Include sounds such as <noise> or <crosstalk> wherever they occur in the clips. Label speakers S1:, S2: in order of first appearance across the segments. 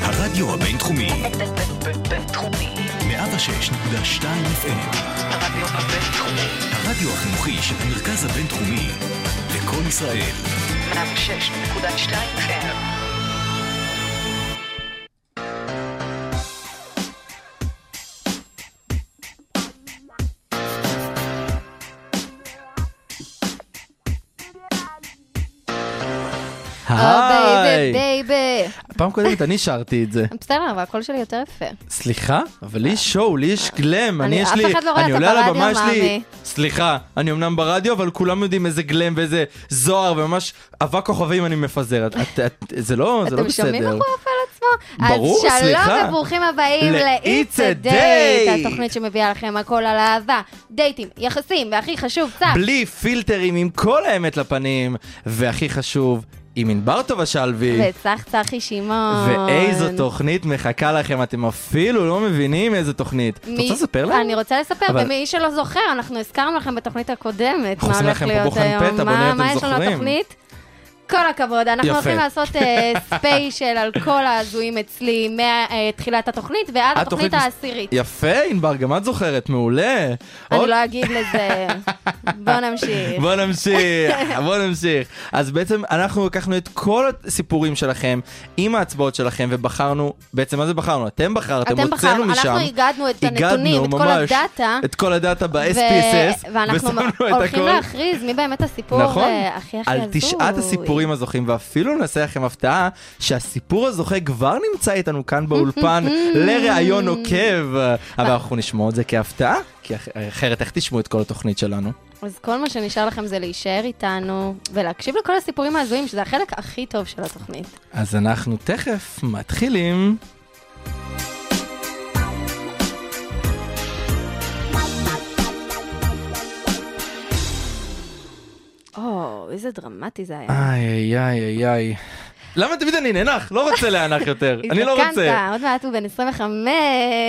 S1: הרדיו הבינתחומי,
S2: בינתחומי.
S1: 106.2 FM,
S2: הרדיו הבינתחומי.
S1: הרדיו החינוכי של המרכז הבינתחומי, לקום ישראל,
S2: 106.2
S3: כן.
S2: FM.
S4: אה,
S5: אה,
S4: היי.
S5: בייבי.
S4: פעם קודמת אני שרתי את זה.
S5: בסדר, אבל הקול שלי יותר יפה.
S4: סליחה? אבל לי שואו, לי יש גלם. אני
S5: אני-
S4: יש
S5: אף
S4: לי...
S5: אחד לא רואה, אתה
S4: אני עולה על
S5: ברדיו,
S4: הבמה, יש לי-
S5: מאמי.
S4: סליחה, אני אמנם ברדיו, אבל כולם יודעים איזה גלם ואיזה זוהר וממש אבק כוכבים אני מפזר. את- את- את- זה לא זה לא
S5: אתם שומעים איך
S4: בסדר.
S5: הוא עפה על עצמו?
S4: ברור,
S5: אז
S4: סליחה.
S5: שלום וברוכים הבאים
S4: ל-
S5: ל-It's
S4: It's
S5: a
S4: a Date.
S5: Date, התוכנית שמביאה לכם הכל על אהבה, דייטים, יחסים, והכי חשוב, צח.
S4: בלי פילטרים, עם כל האמת לפנים, והכי חשוב, עם ענבר טובה שלוי.
S5: וצח צחי שמעון.
S4: ואיזו תוכנית מחכה לכם, אתם אפילו לא מבינים איזו תוכנית. את
S5: מי-
S4: רוצה לספר להם?
S5: אני רוצה לספר,
S4: אבל-
S5: ומי שלא זוכר, אנחנו הזכרנו לכם בתוכנית הקודמת
S4: אנחנו
S5: מה
S4: עושים
S5: הולך
S4: לכם פה
S5: להיות
S4: בוחן
S5: היום.
S4: פתע, בוא
S5: מה-
S4: נראה אם אתם
S5: מה יש לנו
S4: זוכרים.
S5: בתוכנית? כל הכבוד, אנחנו
S4: יפה.
S5: הולכים לעשות
S4: <laughs>
S5: אה, ספיישל על כל ההזויים אצלי מתחילת התוכנית ועד
S4: אה, התוכנית
S5: התוכנית
S4: מס-
S5: העשירית.
S4: יפה, ענבר, גם את זוכרת, מעולה.
S5: אני
S4: עוד-
S5: לא אגיד
S4: <laughs>
S5: לזה. בוא נמשיך.
S4: בוא
S5: <laughs>
S4: נמשיך, בוא נמשיך. אז בעצם אנחנו לקחנו את כל הסיפורים שלכם, עם ההצבעות שלכם, ובחרנו, בעצם מה זה בחרנו? אתם בחרתם,
S5: אתם בחרנו,
S4: הוצאנו משם.
S5: אנחנו הגדנו את
S4: הגדנו
S5: הנתונים, את כל
S4: ממש
S5: הדאטה.
S4: את כל הדאטה
S5: ו-
S4: ב-SPSS,
S5: ואנחנו
S4: ושמנו את
S5: הולכים
S4: הכל.
S5: להכריז מי באמת הסיפור
S4: נכון,
S5: אה, הכי הכי
S4: על
S5: הזוי.
S4: תשעת הסיפורים הזוכים, ואפילו נעשה לכם הפתעה שהסיפור הזוכה כבר נמצא איתנו כאן
S5: <laughs>
S4: באולפן לראיון עוקב, אבל אנחנו נשמע את זה כהפתעה, כי אח- אחרת איך תשמעו את כל התוכנית שלנו?
S5: אז כל מה שנשאר לכם זה להישאר איתנו ולהקשיב לכל הסיפורים ההזויים, שזה החלק הכי טוב של התוכנית.
S4: אז אנחנו תכף מתחילים.
S5: או, איזה דרמטי זה
S4: אה,
S5: היה.
S4: איי, איי, איי, איי. למה תמיד אני נאנח? לא רוצה להנח יותר, אני לא רוצה.
S5: הזדקנת, עוד מעט הוא בן 25.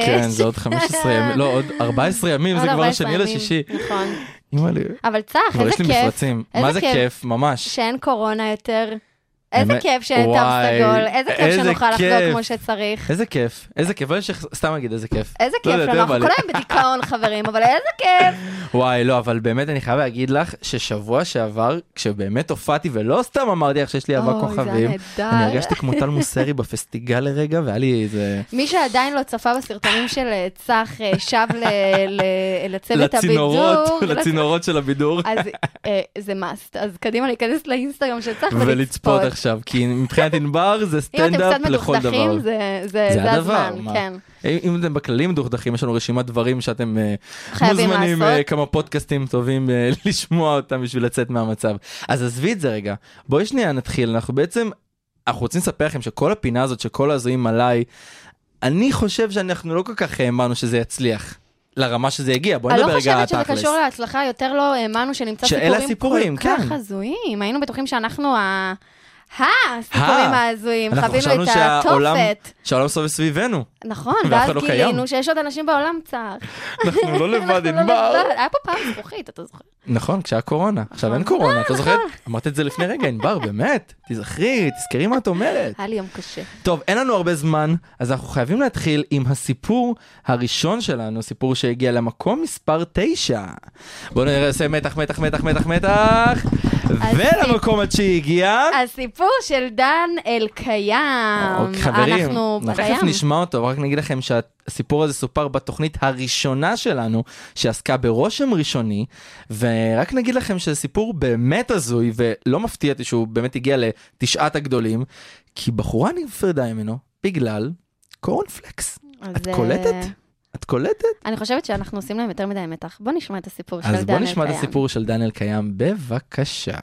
S4: כן, זה עוד 15 ימים, לא, עוד 14 ימים, זה
S5: <laughs> עוד
S4: כבר
S5: 14
S4: השני
S5: ימים,
S4: לשישי.
S5: נכון.
S4: אימא לי,
S5: אבל צח,
S4: כבר
S5: איזה
S4: יש לי
S5: כיף
S4: מפרצים.
S5: איזה
S4: מה זה
S5: כיף.
S4: כיף? ממש.
S5: שאין קורונה יותר. איזה
S4: באמת?
S5: כיף שאין תו
S4: וואי,
S5: סגול, איזה כיף
S4: איזה
S5: שנוכל
S4: כיף.
S5: לחגוג כמו שצריך.
S4: איזה כיף, איזה כיף, אבל שח- סתם אגיד איזה כיף.
S5: איזה
S4: לא
S5: כיף
S4: יודע,
S5: לנו,
S4: יותר
S5: אנחנו
S4: בא
S5: כל
S4: לי.
S5: היום בדיכאון חברים, אבל איזה כיף.
S4: <laughs> וואי, לא, אבל באמת אני חייב להגיד לך ששבוע שעבר, כשבאמת הופעתי, ולא סתם אמרתי לך שיש לי אהבה
S5: אוי, זה היה
S4: כוכבים,
S5: נהדר.
S4: אני הרגשתי כמו טל מוסרי <laughs> בפסטיגל לרגע, והיה לי איזה...
S5: מי שעדיין לא צפה בסרטונים של אה, צח אה, שב ל- ל- לצוות
S4: לצינורות,
S5: הבידור.
S4: לצינורות של הבידור. <laughs>
S5: אז אה, זה מאסט, אז קדימה להיכנס לאינסטגרם של צח
S4: ולצפות עכשיו, כי מבחינת ענבר זה
S5: אם אתם
S4: סטנדאפ
S5: קצת
S4: לכל דבר.
S5: מדוכדכים, זה- זה
S4: זה
S5: זה
S4: הדבר,
S5: הזמן,
S4: מה?
S5: כן.
S4: אם אם אתם בכללים מדוכדכים, יש לנו רשימת דברים שאתם אה,
S5: חייבים
S4: מוזמנים,
S5: לעשות.
S4: אה, כמה פודקאסטים טובים אה, <laughs> לשמוע אותם בשביל לצאת מהמצב. אז עזבי את זה רגע. בואי שנייה נתחיל, אנחנו בעצם, אנחנו רוצים לספר לכם שכל הפינה הזאת, שכל הזויים עליי, אני חושב שאנחנו לא כל כך האמנו שזה יצליח, לרמה שזה יגיע. בואי
S5: אני
S4: נדבר
S5: לא
S4: רגע על
S5: חושבת שזה
S4: התכלס.
S5: קשור להצלחה, יותר לא האמנו שנמצא
S4: שאלה
S5: סיפורים
S4: הסיפורים,
S5: כל כך
S4: כן.
S5: הזויים. היינו בטוחים שאנחנו ה... הסיפורים
S4: ה.
S5: ההזויים,
S4: אה, אנחנו
S5: חווינו
S4: חשבנו
S5: את
S4: שהעולם-
S5: התופת.
S4: שהעולם סובב
S5: <laughs>
S4: סביבנו.
S5: נכון,
S4: ואף אחד
S5: ואז
S4: לא
S5: גילינו
S4: קיים.
S5: שיש עוד אנשים בעולם צר.
S4: אנחנו לא לבד,
S5: אנחנו לא
S4: ענבר.
S5: לבד. היה פה פעם זכוכית, אתה זוכר?
S4: נכון, כשהיה קורונה. עכשיו אין קורונה, אתה זוכרת? אמרת את זה לפני רגע, ענבר, באמת. תזכרי, תזכרי מה את אומרת.
S5: היה לי יום קשה.
S4: טוב, אין לנו הרבה זמן, אז אנחנו חייבים להתחיל עם הסיפור הראשון שלנו, סיפור שהגיע למקום מספר 9. בואו נעשה מתח, מתח, מתח, מתח, מתח. ולמקום התשיעי הגיע...
S5: הסיפור של דן אלקיים.
S4: אה. אוקיי, חברים,
S5: אמ, אנחנו
S4: אנחנו
S5: בים.
S4: תכף נשמע אותו, רק נגיד לכם שהסיפור הזה סופר בתוכנית הראשונה שלנו, שעסקה ברושם ראשוני, ורק נגיד לכם שזה סיפור באמת הזוי, ולא מפתיע אותי שהוא באמת הגיע לתשעת הגדולים, כי בחורה נפרדה ממנו בגלל קורנפלקס.
S5: אז,
S4: את
S5: אה,
S4: קולטת? את קולטת?
S5: אני חושבת שאנחנו עושים להם יותר מדי מתח. בוא נשמע את הסיפור של דן
S4: אז
S5: אלקיים.
S4: בוא נשמע את הסיפור של דניאל קיים,
S5: <laughs>
S4: בבקשה.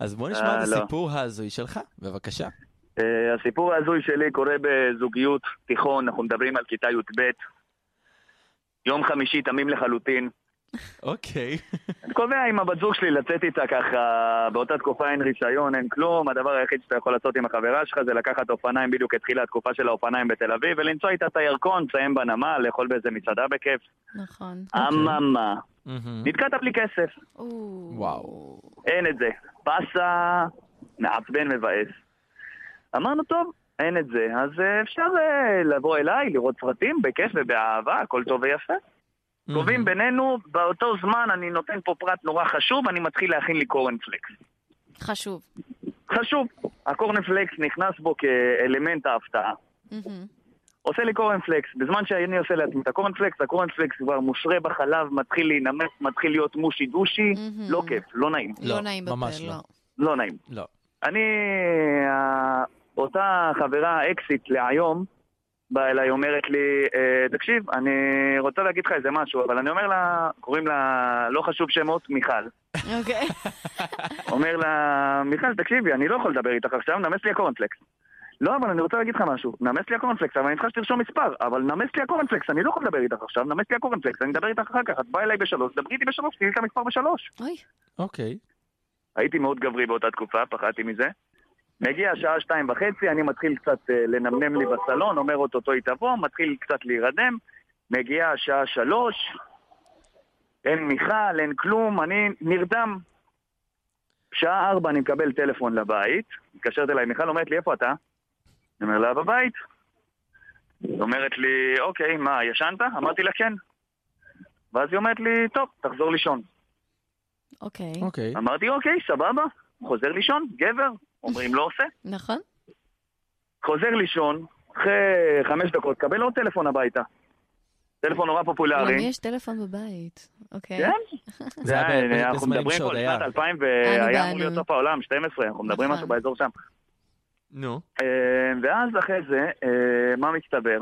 S4: אז בוא נשמע את
S6: אה, לא.
S4: הסיפור ההזוי שלך, בבקשה.
S6: אה, הסיפור ההזוי שלי קורה בזוגיות תיכון, אנחנו מדברים על כיתה י"ב. יום חמישי תמים לחלוטין.
S4: אוקיי. <laughs>
S6: אני קובע עם הבת זוג שלי לצאת איתה ככה, באותה תקופה אין רישיון, אין כלום, הדבר היחיד שאתה יכול לעשות עם החברה שלך זה לקחת אופניים, בדיוק התחילה התקופה של האופניים בתל אביב, ולנסוע איתה את הירקון, לסיים בנמל, לאכול באיזה מסעדה בכיף.
S5: נכון.
S4: אוקיי.
S6: אממה,
S7: Mm-hmm.
S4: מהמם.
S6: נתקעת בלי כסף,
S4: וואו.
S6: אין את זה. פסה, מעצבן, מבאס. אמרנו, טוב, אין את זה, אז אה, אפשר אה, לבוא אליי, לראות סרטים, בכיף ובאהבה, הכל טוב ויפה. קובעים בינינו, באותו זמן אני נותן פה פרט נורא חשוב, אני מתחיל להכין לי קורנפלקס.
S2: חשוב.
S6: חשוב, הקורנפלקס נכנס בו כאלמנט ההפתעה.
S2: מהמם.
S6: עושה לי קורנפלקס, בזמן שאני עושה לעצמי את הקורנפלקס, הקורנפלקס כבר מושרה בחלב, מתחיל להינמס, מתחיל להיות מושי דושי,
S5: מהמם.
S6: לא כיף, לא נעים,
S5: לא
S4: לא,
S5: נעים בפה,
S4: ממש
S5: לא.
S4: לא.
S6: לא נעים.
S4: לא.
S6: אני, אה, אותה חברה האקסיט להיום, באה אליי, אומרת לי, אה, תקשיב, אני רוצה להגיד לך איזה משהו, אבל אני אומר לה, קוראים לה, לא חשוב שמות, מיכל.
S5: אוקיי.
S8: אה,
S6: אומר לה, מיכל, תקשיבי, אני לא יכול לדבר איתך עכשיו, נמס לי הקורנפלקס. לא, אבל אני רוצה להגיד לך משהו. נמס לי הקורנפלקס, אבל אני צריכה שתרשום מספר. אבל נמס לי הקורנפלקס, אני לא יכול לדבר איתך עכשיו, נמס לי הקורנפלקס, אני אדבר איתך אחר כך. את באה אליי בשלוש, דברי איתי בשלוש, תראי את המספר בשלוש.
S5: אוי,
S4: אוקיי.
S6: הייתי מאוד גברי באותה תקופה, פחדתי מזה. מגיע השעה שתיים וחצי, אני מתחיל קצת אה, לנמנם לי בסלון, אומר אוטוטו היא תבוא, מתחיל קצת להירדם. מגיעה השעה שלוש, אין מיכל, אין כלום, אני נרדם. שעה ארבע אני מקבל טלפון לבית, מתקשרת אליי, מיכל אומרת לי, איפה אתה? אני אומר לה, בבית. היא אומרת לי, אוקיי, מה, ישנת? אמרתי לה, כן. ואז היא אומרת לי, טוב, תחזור לישון.
S5: אוקיי.
S4: אוקיי.
S6: אמרתי, אוקיי, סבבה, חוזר לישון, גבר, אומרים לא עושה.
S5: נכון?
S6: חוזר לישון, אחרי חמש דקות, קבל עוד טלפון הביתה. טלפון נורא
S5: למי
S6: פופולרי.
S5: יש טלפון בבית? אוקיי.
S6: כן,
S4: זה היה
S6: אה,
S4: באמת
S6: אנחנו
S4: בזמנים
S6: מדברים פה
S4: שעוד
S6: על
S4: היה.
S6: שנת 2000
S5: אנו
S6: והיה
S5: באנו.
S6: אמור להיות סוף העולם, 12, אנחנו מדברים
S5: נכון.
S6: משהו באזור שם.
S4: נו.
S6: אה, ואז אחרי זה, אה, מה מסתבר?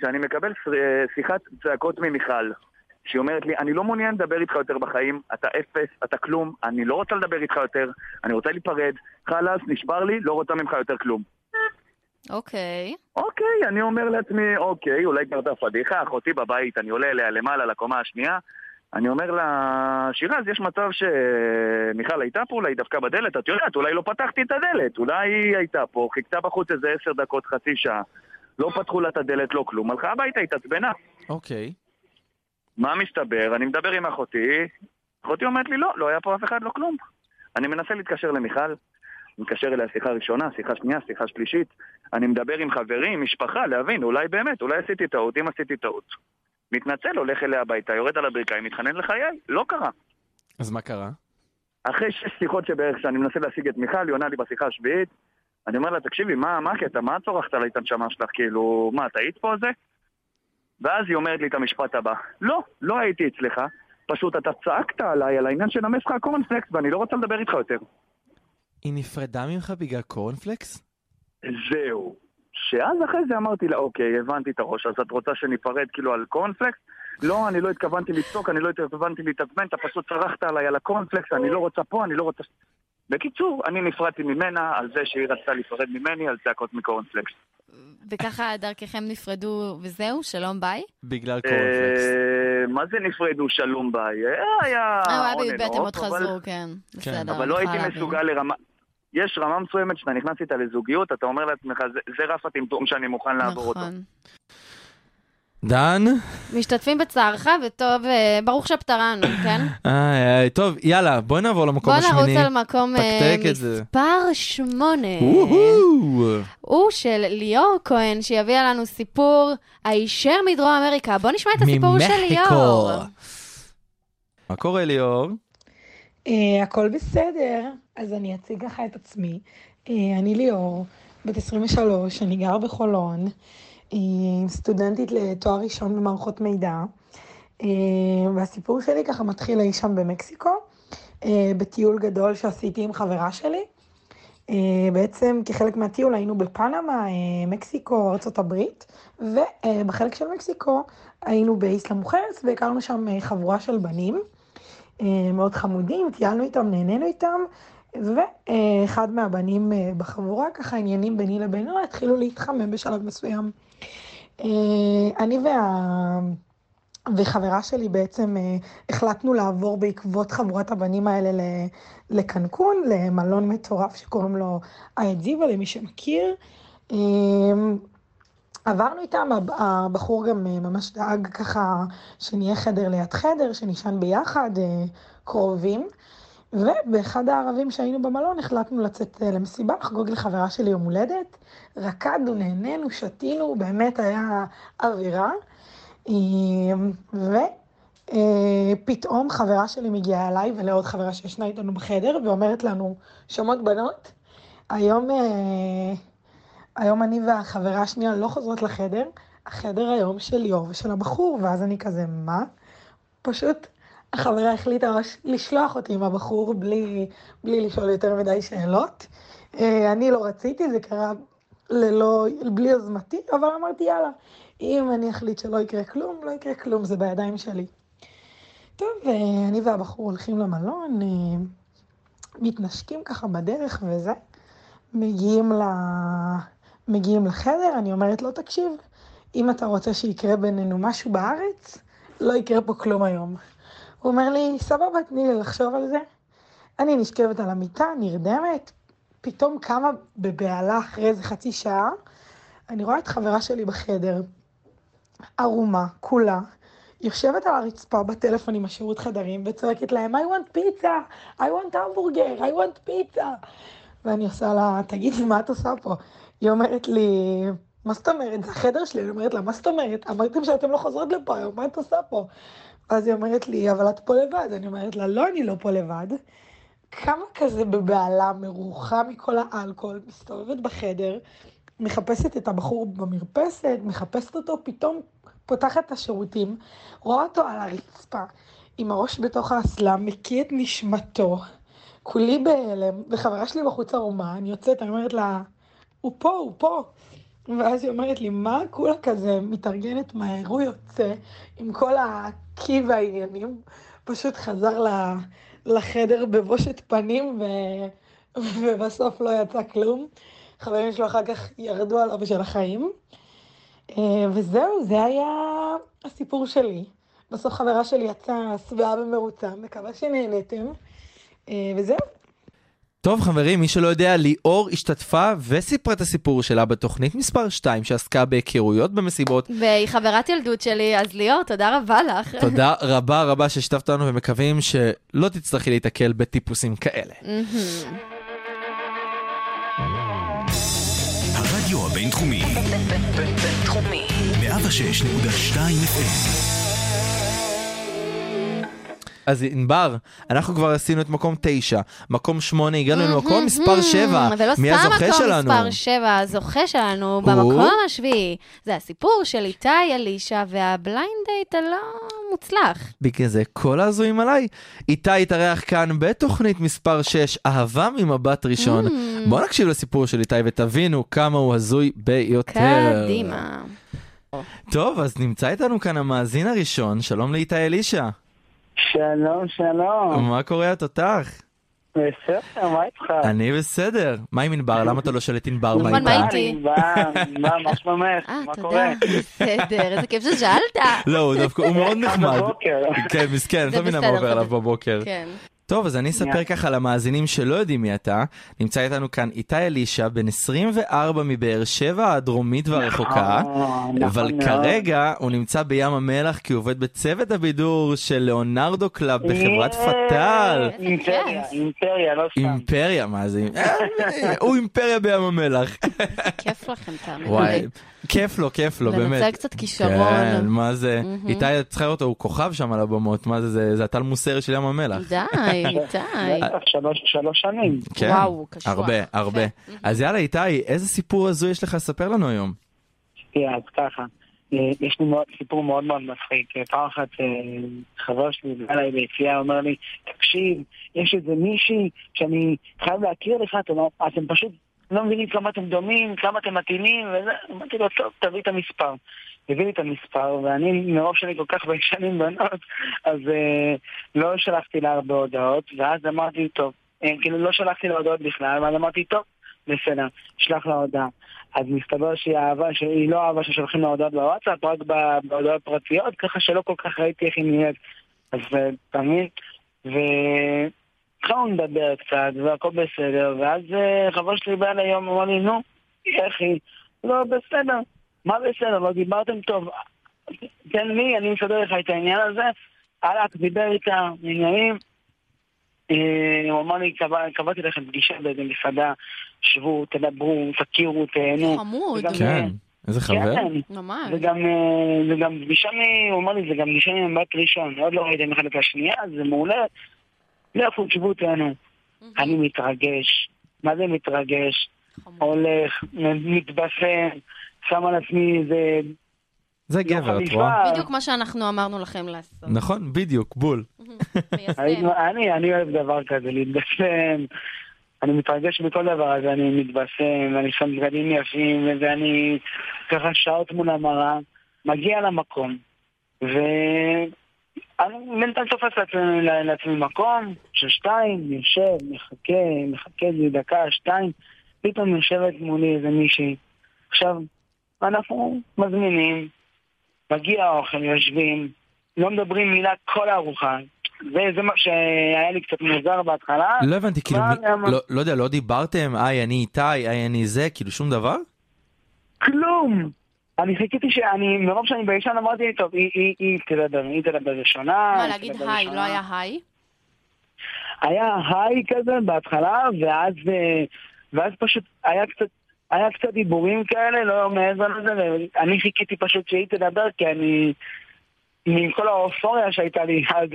S6: שאני מקבל ש- אה, שיחת צעקות ממיכל, שהיא אומרת לי, אני לא מעוניין לדבר איתך יותר בחיים, אתה אפס, אתה כלום, אני לא רוצה לדבר איתך יותר, אני רוצה להיפרד, חלאס, נשבר לי, לא רוצה ממך יותר כלום.
S5: אוקיי.
S6: אוקיי, אני אומר לעצמי, אוקיי, אולי קרתה פדיחה, אחותי בבית, אני עולה אליה למעלה, לקומה השנייה. אני אומר לה, שירז, יש מצב שמיכל הייתה פה, אולי היא דפקה בדלת, את יודעת, אולי לא פתחתי את הדלת, אולי היא הייתה פה, חיכתה בחוץ איזה עשר דקות, חצי שעה. לא פתחו לה את הדלת, לא כלום, הלכה הביתה, התעצבנה.
S4: אוקיי.
S6: מה מסתבר? אני מדבר עם אחותי, אחותי אומרת לי, לא, לא היה פה אף אחד, לא כלום. אני מנסה להתקשר למיכל, מתקשר אליה שיחה ראשונה, שיחה שנייה, שיחה שלישית. אני מדבר עם חברים, משפחה, להבין, אולי באמת, אולי עשיתי טעות, אם עשיתי טעות. מתנצל, הולך אליה הביתה, יורד על הברכיים, מתחנן לחיי, לא קרה.
S4: אז מה קרה?
S6: אחרי שש שיחות שבערך שאני מנסה להשיג את מיכל, היא עונה לי בשיחה השביעית. אני אומר לה, תקשיבי, מה, מה הקטע, מה את צורחת עלי את הנשמה שלך, כאילו, מה, את היית פה על זה? ואז היא אומרת לי את המשפט הבא, לא, לא הייתי אצלך, פשוט אתה צעקת עליי על העניין של המסך הקורנפלקס ואני לא רוצה לדבר איתך יותר.
S4: היא נפרדה ממך בגלל קורנפלקס?
S6: זהו. שאז אחרי זה אמרתי לה, אוקיי, הבנתי את הראש, אז את רוצה שניפרד כאילו על קורנפלקס? לא, אני לא התכוונתי לצעוק, אני לא התכוונתי להתעצבן, אתה פשוט צרחת עליי על הקורנפלקס, אני לא רוצה פה, אני לא רוצה... בקיצור, אני נפרדתי ממנה על זה שהיא רצתה להיפרד ממני על צעקות מקורנפלקס.
S5: וככה דרככם נפרדו וזהו, שלום ביי.
S4: בגלל קורנפלקס.
S6: אה, מה זה נפרדו שלום ביי? אה, היה
S5: אה, הוא היה
S6: on
S5: בי"ב,
S6: and
S5: הם עוד
S6: off, אבל-
S5: חזרו, כן. בסדר,
S6: אבל לא
S5: אני יכולה
S6: הייתי
S5: להבין.
S6: מסוגל לרמה... יש רמה מסוימת שאתה נכנס איתה לזוגיות, אתה אומר לעצמך, "זה- זה רף הטמטום שאני מוכן לעבור אותו.
S5: נכון.
S4: דן?
S2: משתתפים בצערך, וטוב, אה, ברוך שפטרנו, כן?
S4: איי, איי, טוב, יאללה, בואי נעבור למקום
S2: בוא נרוץ
S4: השמיני.
S2: על מקום אה,
S4: תקתק את זה.
S2: מספר שמונה. אה,
S4: וואו.
S2: הוא של ליאור כהן, שיביא לנו סיפור הישר מדרום אמריקה. בוא נשמע את הסיפור של ליאור.
S4: ממקסיקו. מה קורה ליאור?
S9: אה, הכל בסדר, אז אני אציג לך את עצמי. אה, אני ליאור, בת 23, אני גר בחולון, אה, סטודנטית לתואר ראשון במערכות מידע, אה, והסיפור שלי ככה מתחיל אי שם במקסיקו, אה, בטיול גדול שעשיתי עם חברה שלי. אה, בעצם כחלק מהטיול היינו בפנמה, אה, מקסיקו, ארה"ב, ובחלק אה, של מקסיקו היינו באיסלה מוכרס והכרנו שם אה, חבורה של בנים. אה, מאוד חמודים, טיילנו איתם, נהנינו איתם, ואחד מהבנים אה, בחבורה, ככה עניינים ביני לבינו, התחילו להתחמם בשלב מסוים. אה, אני וה... וחברה שלי בעצם אה, החלטנו לעבור בעקבות חבורת הבנים האלה ל- לקנקון, למלון מטורף שקוראים לו אייג'יבה, למי שמכיר. אה, עברנו איתם, הב- הבחור גם אה, ממש דאג ככה שנהיה חדר ליד חדר, שנישן ביחד, אה, קרובים. ובאחד הערבים שהיינו במלון החלטנו לצאת אה, למסיבה, לחגוג לחברה שלי יום הולדת. רקדנו, נהנינו, שתינו, באמת היה אווירה. אמ, ופתאום אה, חברה שלי מגיעה אליי ולעוד חברה שישנה איתנו בחדר ואומרת לנו, שומעות בנות, היום, אה, היום אני והחברה השנייה לא חוזרות לחדר, החדר היום של ליאור ושל הבחור, ואז אני כזה, מה? פשוט החברה החליטה ממש לשלוח אותי עם הבחור בלי, בלי לשאול יותר מדי שאלות. אה, אני לא רציתי, זה קרה ללא, בלי יוזמתי, אבל אמרתי, יאללה, אם אני אחליט שלא יקרה כלום, לא יקרה כלום, זה בידיים שלי. טוב, אה, אני והבחור הולכים למלון, אה, מתנשקים ככה בדרך וזה, מגיעים, ל... מגיעים לחדר, אני אומרת לו, תקשיב, אם אתה רוצה שיקרה בינינו משהו בארץ, לא יקרה פה כלום היום. הוא אומר לי, סבבה, תני לי לחשוב על זה. אני נשכבת על המיטה, נרדמת, פתאום קמה בבהלה אחרי איזה חצי שעה, אני רואה את חברה שלי בחדר, ערומה, כולה, יושבת על הרצפה בטלפון עם השירות חדרים וצועקת להם, I want pizza, I want hamburger, I want pizza. ואני עושה לה, תגידי, מה את עושה פה? היא אומרת לי, מה זאת אומרת? זה החדר שלי. אני אומרת לה, מה זאת אומרת? אמרתם שאתם לא חוזרות לפה היום, מה את עושה פה? אז היא אומרת לי, אבל את פה לבד. אני אומרת לה, לא, אני לא פה לבד. כמה כזה בבהלה, מרוחה מכל האלכוהול, מסתובבת בחדר, מחפשת את הבחור במרפסת, מחפשת אותו, פתאום פותחת את השירותים, רואה אותו על הרצפה, עם הראש בתוך האסלה, מקיא את נשמתו. כולי בהלם, וחברה שלי בחוץ ערומה, אני יוצאת, אני אומרת לה, הוא פה, הוא פה. ואז היא אומרת לי, מה כולה כזה מתארגנת מהר, הוא יוצא עם כל הקי והעניינים, פשוט חזר ל- לחדר בבושת פנים, ו... ובסוף לא יצא כלום. חברים שלו אחר כך ירדו עליו של החיים. אה, וזהו, זה היה הסיפור שלי. בסוף חברה שלי יצאה שבעה במרוצה, מקווה שנהנתם. אה, וזהו.
S4: טוב חברים, מי שלא יודע, ליאור השתתפה וסיפרה את הסיפור שלה בתוכנית מספר 2 שעסקה בהיכרויות במסיבות.
S5: והיא חברת ילדות שלי, אז ליאור, תודה רבה לך.
S4: תודה רבה רבה ששיתפת אותנו ומקווים שלא תצטרכי להיתקל בטיפוסים כאלה.
S5: מהמם.
S1: הרדיו הבינתחומי,
S10: בינתחומי.
S1: 106.2 FM,
S4: אז ענבר, אנחנו כבר עשינו את מקום 9, מקום 8, הגענו למקום מספר 7.
S5: ולא
S4: מי
S5: סתם
S4: הזוכה
S5: מקום
S4: שלנו?
S5: מספר 7, הזוכה שלנו במקום השביעי. זה הסיפור של איתי אלישע והבליינד דייט הלא מוצלח.
S4: בגלל זה כל ההזויים עליי. איתי התארח כאן בתוכנית מספר 6, אהבה ממבט ראשון.
S5: Mm.
S4: בואו נקשיב לסיפור של איתי ותבינו כמה הוא הזוי ביותר.
S5: קדימה.
S4: טוב, אז נמצא איתנו כאן המאזין הראשון, שלום לאיתי אלישע.
S11: שלום,
S5: אמ-
S11: שלום.
S4: מה קורה התותח?
S11: בסדר, מה איתך?
S4: אני בסדר. מה עם ענבר? למה אתה לא שואל את ענבר מה
S5: נכון, מה
S4: איתה?
S5: איתי?
S11: מה, מה, מה שלומך?
S5: אה,
S11: מה
S5: תודה,
S11: קורה?
S5: בסדר, איזה כיף ששאלת.
S4: לא, הוא דווקא, הוא מאוד נחמד.
S11: בבוקר.
S4: כן, מסכן,
S5: זה
S4: לא מבינה מה
S5: בסדר,
S4: עובר
S5: זה
S4: עליו
S5: בסדר.
S4: בבוקר.
S5: כן.
S4: טוב, אז אני אספר
S11: שנייה.
S4: ככה למאזינים שלא יודעים מי אתה. נמצא איתנו כאן איתי אלישע, בן 24 מבאר שבע הדרומית והרחוקה.
S11: אה, נכון
S4: אבל
S11: מאוד.
S4: כרגע הוא נמצא בים המלח כי הוא עובד בצוות הבידור של ליאונרדו קלאב בחברת
S11: אה,
S4: פטל.
S11: אימפריה, אימפריה, לא סתם.
S4: אימפריה, מה זה? אה, הוא אימפריה בים המלח.
S5: כיף לכם, תאמינו
S4: וואי,
S5: לי.
S4: כיף לו, כיף לו, באמת.
S5: לנצל קצת
S4: כן,
S5: כישרון.
S4: מה זה? איתי, את צריכה לראות אותו, הוא כוכב שם על הבמות, מה זה, זה? זה הטל מוסר של ים המלח.
S5: <laughs> די, איתי.
S11: בטח, <laughs> שלוש שלוש שנים.
S4: כן,
S5: וואו, קשוח. כן.
S4: הרבה, הרבה. אז יאללה, איתי, איזה סיפור הזוי יש לך לספר לנו היום?
S11: תראה, אז ככה. אה, יש לי מאוד- סיפור מאוד מאוד מצחיק. אה, פעם אחת אה, חבר שלי בא אליי ביציאה, אומר לי, תקשיב, יש איזה מישהי שאני חייב להכיר לך, אתם לא- אתם פשוט לא מבינים כמה אתם דומים, כמה אתם מתאימים, וזה, אמרתי לו, טוב, תביא את המספר. הביא לי את המספר, ואני, מרוב שאני כל כך ביישן עם בנות, אז אה, לא שלחתי לה הרבה הודעות, ואז אמרתי, טוב, אה, כאילו לא שלחתי לה הודעות בכלל, ואז אמרתי, טוב, בסדר, שלח לה הודעה. אז מסתבר שהיא אהבה, שהיא לא אהבה ששולחים לה הודעות בוואטסאפ, רק ב- בהודעות פרטיות, ככה שלא כל כך ראיתי איך היא נהיית. אז אה, אתה מבין? והתחלנו לדבר קצת, והכל בסדר, ואז אה, חבר שלי בא אליי היום, אמר לי, נו, איך היא? לא, בסדר. מה בסדר? לא דיברתם טוב. כן, תן לי, אני מסדר לך את העניין הזה. הלך, דיבר איתה, עניינים. אה, הוא אמר לי, "קבע- קבעתי לכם פגישה באיזה מסעדה, שבו, תדברו, תכירו, תהנו.
S5: חמוד,
S11: וגם, אה,
S4: כן, איזה חבר.
S11: כן,
S5: ממש.
S11: וגם אה, זה גם פגישה מ... הוא אמר לי, זה גם פגישה ממבט ראשון, עוד לא ראיתם אחד את השנייה, זה מעולה. לא לכו, תשבו אותנו. אני מתרגש. מה זה מתרגש? הולך, מתבשם, שם על עצמי איזה...
S4: זה
S11: לא
S4: גבר, את
S11: חליפה.
S4: רואה?
S5: בדיוק מה שאנחנו אמרנו לכם לעשות.
S4: נכון, בדיוק, בול.
S5: מיישם.
S11: היינו- אני, אני אוהב דבר כזה, להתבשם. אני מתרגש מכל דבר, אז אני מתבשם, ואני שם בגדים יפים, ואני ככה שעות מול המראה, מגיע למקום, ואני בינתיים תופס לעצמי, לעצמי מקום של שתיים, יושב, מחכה, מחכה איזה דקה, שתיים, פתאום יושבת מולי איזה מישהי. עכשיו, אנחנו מזמינים, מגיע האוכל, יושבים, לא מדברים מילה כל הארוחה. זה, זה מה שהיה לי קצת מוזר בהתחלה.
S4: לא הבנתי, כאילו,
S11: אה, מה,
S4: מי-
S11: למה?
S4: לא- לא יודע, לא דיברתם, היי, אני איתי, היי, אני זה, כאילו שום דבר?
S11: כלום! אני חיכיתי שאני, מרוב שאני ביישן אמרתי, טוב, היא, היא, היא תדבר, היא תדבר ראשונה.
S5: מה,
S11: היא
S5: להגיד
S11: תדבר
S5: היי, לא
S11: ראשונה.
S5: היה היי?
S11: היה היי כזה בהתחלה, ואז, אה, ואז פשוט היה קצת... היה קצת דיבורים כאלה, לא מעבר לזה, ואני חיכיתי פשוט שהיא תדבר, כי אני... עם כל האופוריה שהייתה לי אז,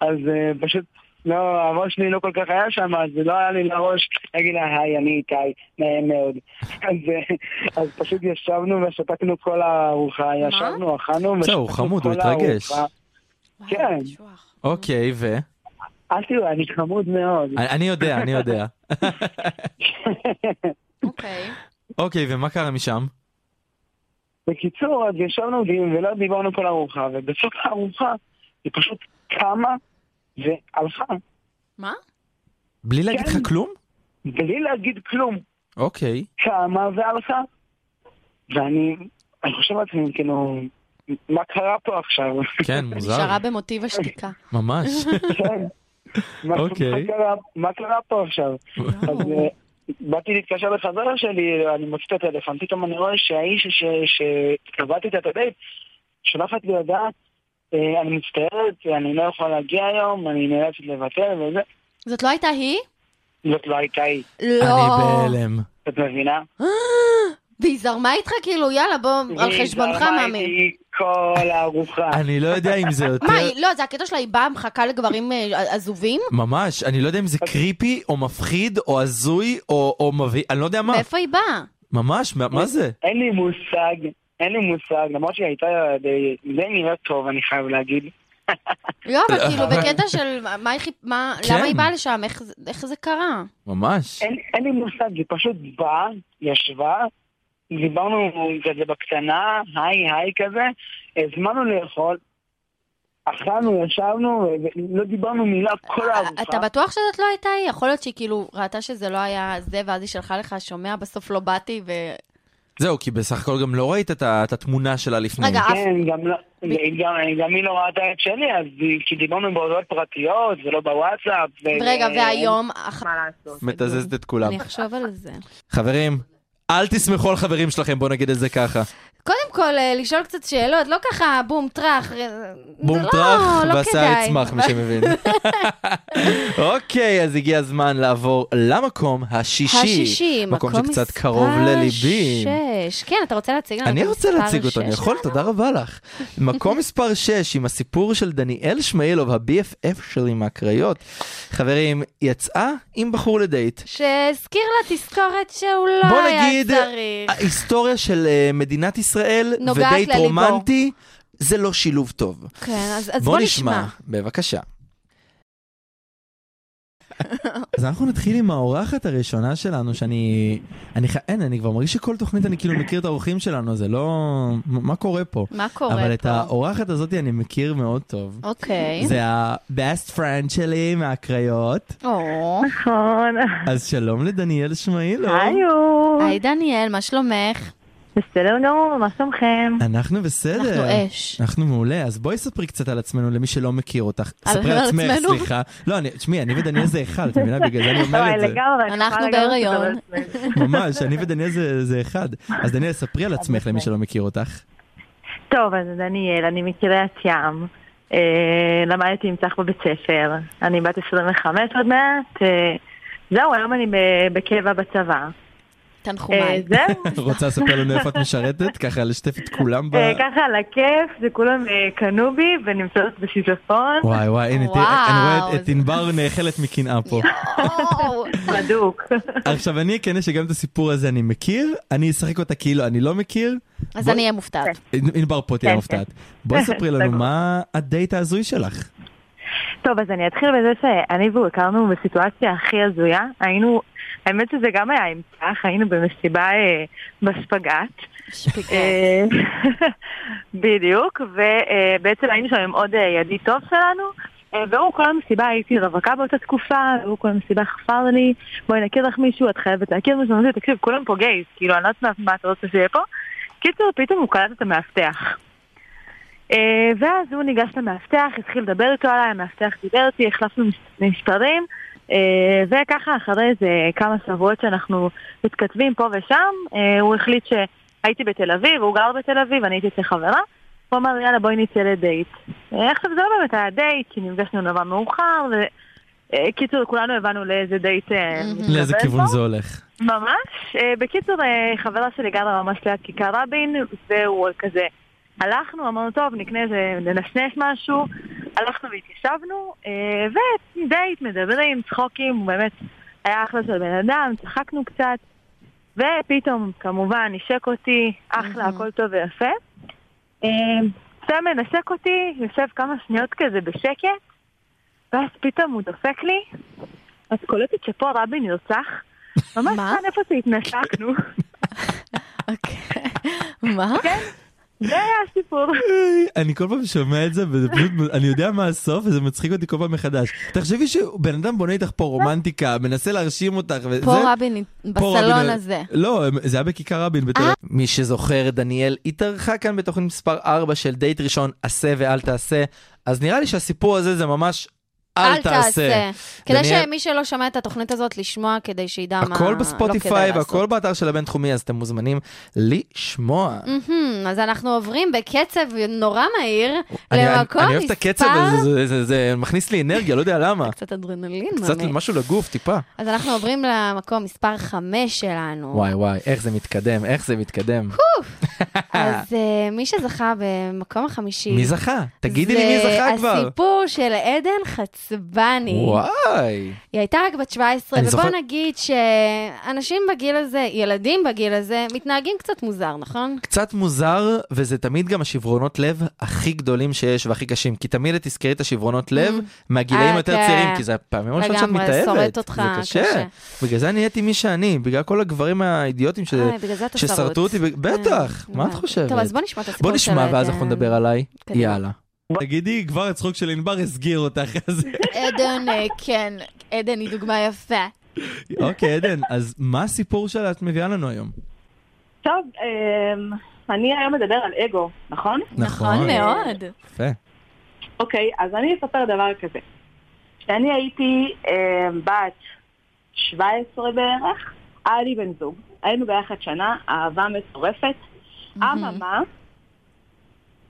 S11: אז אה, פשוט, לא, הראש שלי לא כל כך היה שם, אז לא היה לי לראש להגיד לה, היי, אני איתי, נעים מאוד. <laughs> אז, אה, אז פשוט ישבנו ושתקנו כל הארוחה, ישבנו, אכלנו, ושתקנו כל הארוחה.
S4: זהו, הוא חמוד, הוא התרגש.
S5: וואו,
S11: כן.
S5: שוח.
S4: אוקיי, ו?
S11: אל תראו, אני חמוד מאוד.
S4: אני- אני יודע, אני יודע.
S5: אוקיי.
S4: אוקיי, ומה קרה משם?
S11: <laughs> בקיצור, אז ישבנו דיון ולא דיברנו כל ארוחה, ובסוף הארוחה היא פשוט קמה והלכה, כן.
S5: מה?
S4: בלי להגיד לך כלום?
S11: בלי להגיד כלום,
S4: אוקיי.
S11: קמה והלכה. ואני אני חושב לעצמי, כאילו, מה קרה פה עכשיו? <laughs>
S4: כן, מוזר.
S5: נשארה במוטיב השתיקה.
S4: ממש.
S11: כן. מה-
S4: אוקיי.
S11: מה קרה- מה קרה פה
S4: <laughs>
S11: עכשיו? אז אה, באתי להתקשר לחבר שלי, אני מוציא את הטלפון, פתאום אני רואה שהאיש ש- שקבעתי איתה את הדייט, שולחת לי הודעה, אה, אני מצטערת, אני לא יכולה להגיע היום, אני נאלצת לבטל וזה.
S5: זאת לא הייתה היא?
S11: זאת לא הייתה היא,
S4: אני
S5: לא.
S4: בהלם.
S11: את מבינה?
S5: והיא זרמה איתך כאילו, יאללה, בוא, על חשבונך,
S11: והיא זרמה
S5: מאמי.
S11: איתי כל הארוחה.
S4: אני לא יודע אם זה יותר...
S5: מה, היא- לא, זה הקטע שלה, היא באה, מחכה לגברים אה, עזובים?
S4: ממש, אני לא יודע אם זה
S11: אוקיי.
S4: קריפי, או מפחיד, או הזוי, או או מביא... אני לא יודע מה.
S5: מאיפה היא באה?
S4: ממש, מה- מה זה?
S11: אין לי מושג, אין לי מושג, למרות שהיא הייתה די די נראית טוב, אני חייב להגיד.
S4: <laughs>
S5: לא, אבל כאילו, בקטע של מה היא חיפ... מה...
S4: כן.
S5: למה היא באה לשם? איך זה- איך זה קרה?
S4: ממש.
S11: אין, אין לי מושג, היא פשוט באה, ישבה, דיברנו כזה בקטנה, היי היי כזה, הזמנו לאכול, אכלנו, ישבנו, ולא דיברנו מילה
S5: אה,
S11: כל הארוחה.
S5: אתה בטוח שזאת לא הייתה היא? יכול להיות שהיא כאילו ראתה שזה לא היה זה, ואז היא שלחה לך, שומע, בסוף לא באתי, ו...
S4: זהו, כי בסך הכל גם לא ראית את ה- את התמונה שלה לפני.
S5: רגע, אף...
S11: כן, גם, לא-
S5: אה,
S11: גם, גם היא לא ראתה את שלי, אז היא- כי דיברנו בהודעות פרטיות, ולא בוואטסאפ. ו...
S5: רגע, והיום... אח-
S4: מתזזת את כולם.
S5: אני אחשוב על זה.
S4: חברים, אל תסמכו על חברים שלכם, בוא נגיד את זה ככה.
S2: קודם כל, אה, לשאול קצת שאלות, לא ככה בום, טראח. אה,
S4: בום
S2: לא,
S4: טראח,
S2: לא
S4: והשיער
S2: כדאי.
S4: יצמח, מי
S2: <laughs>
S4: שמבין. אוקיי, אז הגיע הזמן לעבור למקום השישי.
S2: השישי,
S4: מקום
S2: מקום
S4: שקצת
S2: מספר
S4: קרוב לליבי.
S2: שש. כן, אתה רוצה להציג לנו
S4: אני
S2: את
S4: רוצה
S2: המספר
S4: להציג אותו, אני
S2: שש?
S4: יכול? תודה רבה לך.
S2: <laughs>
S4: מקום מספר 6 עם הסיפור של דניאל שמעילוב, ה-BFF שלי מהקריות. חברים, יצאה עם בחור לדייט.
S2: שהזכיר לה תזכורת שהוא לא
S4: בוא
S2: היה
S4: נגיד,
S2: צריך.
S4: ההיסטוריה של אה, מדינת ישראל
S2: נוגעת
S4: ודייט
S2: לליבו.
S4: רומנטי, זה לא שילוב טוב.
S2: כן, אז אז בוא נשמע.
S4: בבקשה. אז אנחנו נתחיל עם האורחת הראשונה שלנו, שאני... אני ח... אין, אני כבר מרגיש שכל תוכנית אני כאילו מכיר את האורחים שלנו, זה לא... מ- מה קורה פה?
S5: מה קורה פה?
S4: אבל את האורחת הזאת אני מכיר מאוד טוב.
S5: אוקיי.
S4: זה ה-best friend שלי מהקריות.
S5: או.
S12: נכון.
S4: אז שלום לדניאל שמעילוב.
S12: היו.
S5: היי, דניאל, מה שלומך?
S12: בסדר גמור, מה שלומכם?
S4: אנחנו בסדר.
S5: אנחנו אש.
S4: אנחנו מעולה, אז בואי ספרי קצת על עצמנו למי שלא מכיר אותך.
S5: על-
S4: ספרי
S5: על
S4: על עצמך,
S5: עצמנו?
S4: סליחה. לא, אני- תשמעי, אני ודניאל זה אחד, את
S3: <laughs>
S4: מבינה? בגלל זה אני אומר
S12: וואי,
S4: את זה.
S12: לגמרי. אני
S5: אנחנו
S12: יכולה לגמרי
S5: בהיריון.
S12: לספר לעצמי.
S4: ממש, אני ודניאל זה- זה אחד. אז דניאל, ספרי על עצמך למי שלא מכיר אותך.
S12: טוב, אז דניאל, אני מקריית ים.
S3: אה, למדתי עם צח בבית ספר, אני בת 25 עוד מעט, אה, זהו, היום אני ב- בקבע בצבא. אה,
S5: תנחומיי.
S3: זהו,
S4: <laughs> רוצה לספר לנו איפה את משרתת? ככה לשתף את כולם ב...
S3: אה, ככה על הכיף, זה כולם אה, קנו בי ונמצאות בשיזפון,
S4: וואי וואי, הנה, תראי,
S5: וואו,
S4: אני רואה את- את
S5: זה-
S4: ענבר נאכלת מקנאה פה.
S5: <laughs> או,
S3: <laughs> בדוק.
S4: עכשיו אני כן, אכנס שגם את הסיפור הזה אני מכיר, אני אשחק אותה כאילו אני לא מכיר.
S5: אז
S4: בואי-
S5: אני אהיה מופתעת.
S4: ענבר פה תהיה
S3: כן,
S4: מופתעת.
S3: <laughs>
S4: בואי ספרי לנו
S3: סגור.
S4: מה הדייט ההזוי שלך.
S3: טוב, אז אני אתחיל בזה שאני והוא הכרנו בסיטואציה הכי הזויה. היינו, האמת שזה גם היה עם צח, היינו במסיבה אה, בספגט.
S5: שפיגל.
S3: אה, <laughs> בדיוק, ובעצם היינו שם עם עוד אה, ידיד טוב שלנו. אה, והוא כל המסיבה, הייתי רווקה באותה תקופה, והוא כל המסיבה חפר לי, בואי נכיר לך מישהו, את חייבת להכיר מישהו, אמרתי, תקשיב, כולם פה גייז, כאילו, אני לא יודעת מה- מה אתה רוצה שיהיה פה. קיצור, פתאום הוא קלט את המאבטח. אה, ואז הוא ניגש למאבטח, התחיל לדבר איתו עליי, המאבטח דיבר איתי, החלפנו מס- מספרים, אה, וככה אחרי איזה כמה שבועות שאנחנו מתכתבים פה ושם, אה, הוא החליט שהייתי בתל אביב, הוא גר בתל אביב, אני הייתי אצל חברה, הוא אמר יאללה בואי נצא לדייט. אה, עכשיו זה לא באמת היה דייט, כי נפגשנו נורא מאוחר, וקיצור כולנו הבנו לאיזה דייט... אה,
S5: מהמם.
S3: מתכוון
S4: לאיזה
S3: פה.
S4: כיוון זה הולך.
S3: ממש. אה, בקיצור, אה, חברה שלי גרה ממש ליד כיכר רבין, והוא כזה... הלכנו, אמרנו, טוב, נקנה איזה, ננשנש משהו. הלכנו והתיישבנו, אה, ודייט, מדברים, צחוקים, הוא באמת היה אחלה של בן אדם, צחקנו קצת, ופתאום, כמובן, נשק אותי, אחלה,
S5: מהמם.
S3: הכל טוב ויפה. אה, סתם מנשק אותי, יושב כמה שניות כזה בשקט, ואז פתאום הוא דופק לי, את קולטת שפה רבין נרצח? ממש
S5: מה?
S3: כאן איפה שהתנשקנו.
S5: <laughs> אוקיי. מה?
S3: זה היה הסיפור.
S4: <laughs> איי, אני כל פעם שומע את זה, וזה פשוט, אני יודע מה הסוף, וזה מצחיק אותי כל פעם מחדש. תחשבי שבן אדם בונה איתך פה רומנטיקה, מנסה להרשים אותך, וזה...
S5: פה רבין
S4: פה
S5: בסלון
S4: רבין-
S5: הזה. אה?
S4: לא, זה היה בכיכר רבין בתל אביב. מי שזוכר, דניאל התארחה כאן בתוכנית מספר 4 של דייט ראשון, עשה ואל תעשה. אז נראה לי שהסיפור הזה זה ממש אל תעשה.
S5: כדי
S4: דניאל-
S5: שמי שלא שומע את התוכנית הזאת, לשמוע כדי שידע מה...
S4: הכל
S5: לא כדאי
S4: בספוטיפיי
S5: לעשות.
S4: והכל באתר של הבינתחומי, אז אתם מוזמנים לשמוע.
S5: מהמם, אז אנחנו עוברים בקצב נורא מהיר
S4: אני- אני-
S5: למקום
S4: אני אוהב את הקצב הזה,
S5: לא, מספר...
S4: זה- זה- זה מכניס לי אנרגיה, לא יודע למה.
S5: קצת אדרנלין,
S4: קצת
S5: ממש.
S4: משהו לגוף, טיפה.
S5: אז אנחנו עוברים למקום מספר 5 שלנו.
S4: וואי וואי, איך זה מתקדם, איך זה מתקדם. <laughs>
S5: אז אה, מי שזכה במקום החמישי...
S4: מי זכה? תגידי לי מי זכה
S5: זה
S4: כבר.
S5: הסיפור של עדן חצבני.
S4: וואי.
S5: היא הייתה רק בת 17,
S4: אני
S5: ובוא
S4: זוכר-
S5: נגיד שאנשים בגיל הזה, ילדים בגיל הזה, מתנהגים קצת מוזר, נכון?
S4: קצת מוזר, וזה תמיד גם השברונות לב הכי גדולים שיש והכי קשים, כי תמיד את תזכרי את השברונות לב
S5: Mm.
S4: מהגילאים
S5: אה,
S4: היותר
S5: כן.
S4: צעירים, כי זה הפעמים הראשונות שאת
S5: לגמרי,
S4: מתאהבת.
S5: שורט אותך,
S4: זה קשה.
S5: קשה.
S4: בגלל זה נהייתי מי שאני, בגלל כל הגברים האידיוטים ש-
S5: אה, בגלל זה אתה שרוט.
S4: ששרטו אותי, ב- בטח,
S5: כן,
S4: מה את
S5: הבנתי.
S4: חושבת?
S5: טוב, אז בוא נשמע את הסיפור של
S4: בוא נשמע ואז אנחנו
S5: עדן.
S4: נדבר עליי,
S5: קדימה.
S4: יאללה. תגידי, כבר הצחוק של ענבר הסגיר אותך, אז
S5: <laughs> עדן, אה, כן, עדן היא דוגמה יפה.
S4: אוקיי, עדן, אז מה הסיפור שלה את מביאה לנו היום?
S3: טוב, אמ, אני היום מדבר על אגו, נכון?
S5: נכון מאוד.
S4: יפה.
S3: אוקיי, אז אני אספר דבר כזה. כשאני הייתי אמ, בת 17 בערך, היה לי בן זוג. היינו ביחד שנה, אהבה מטורפת. אממה,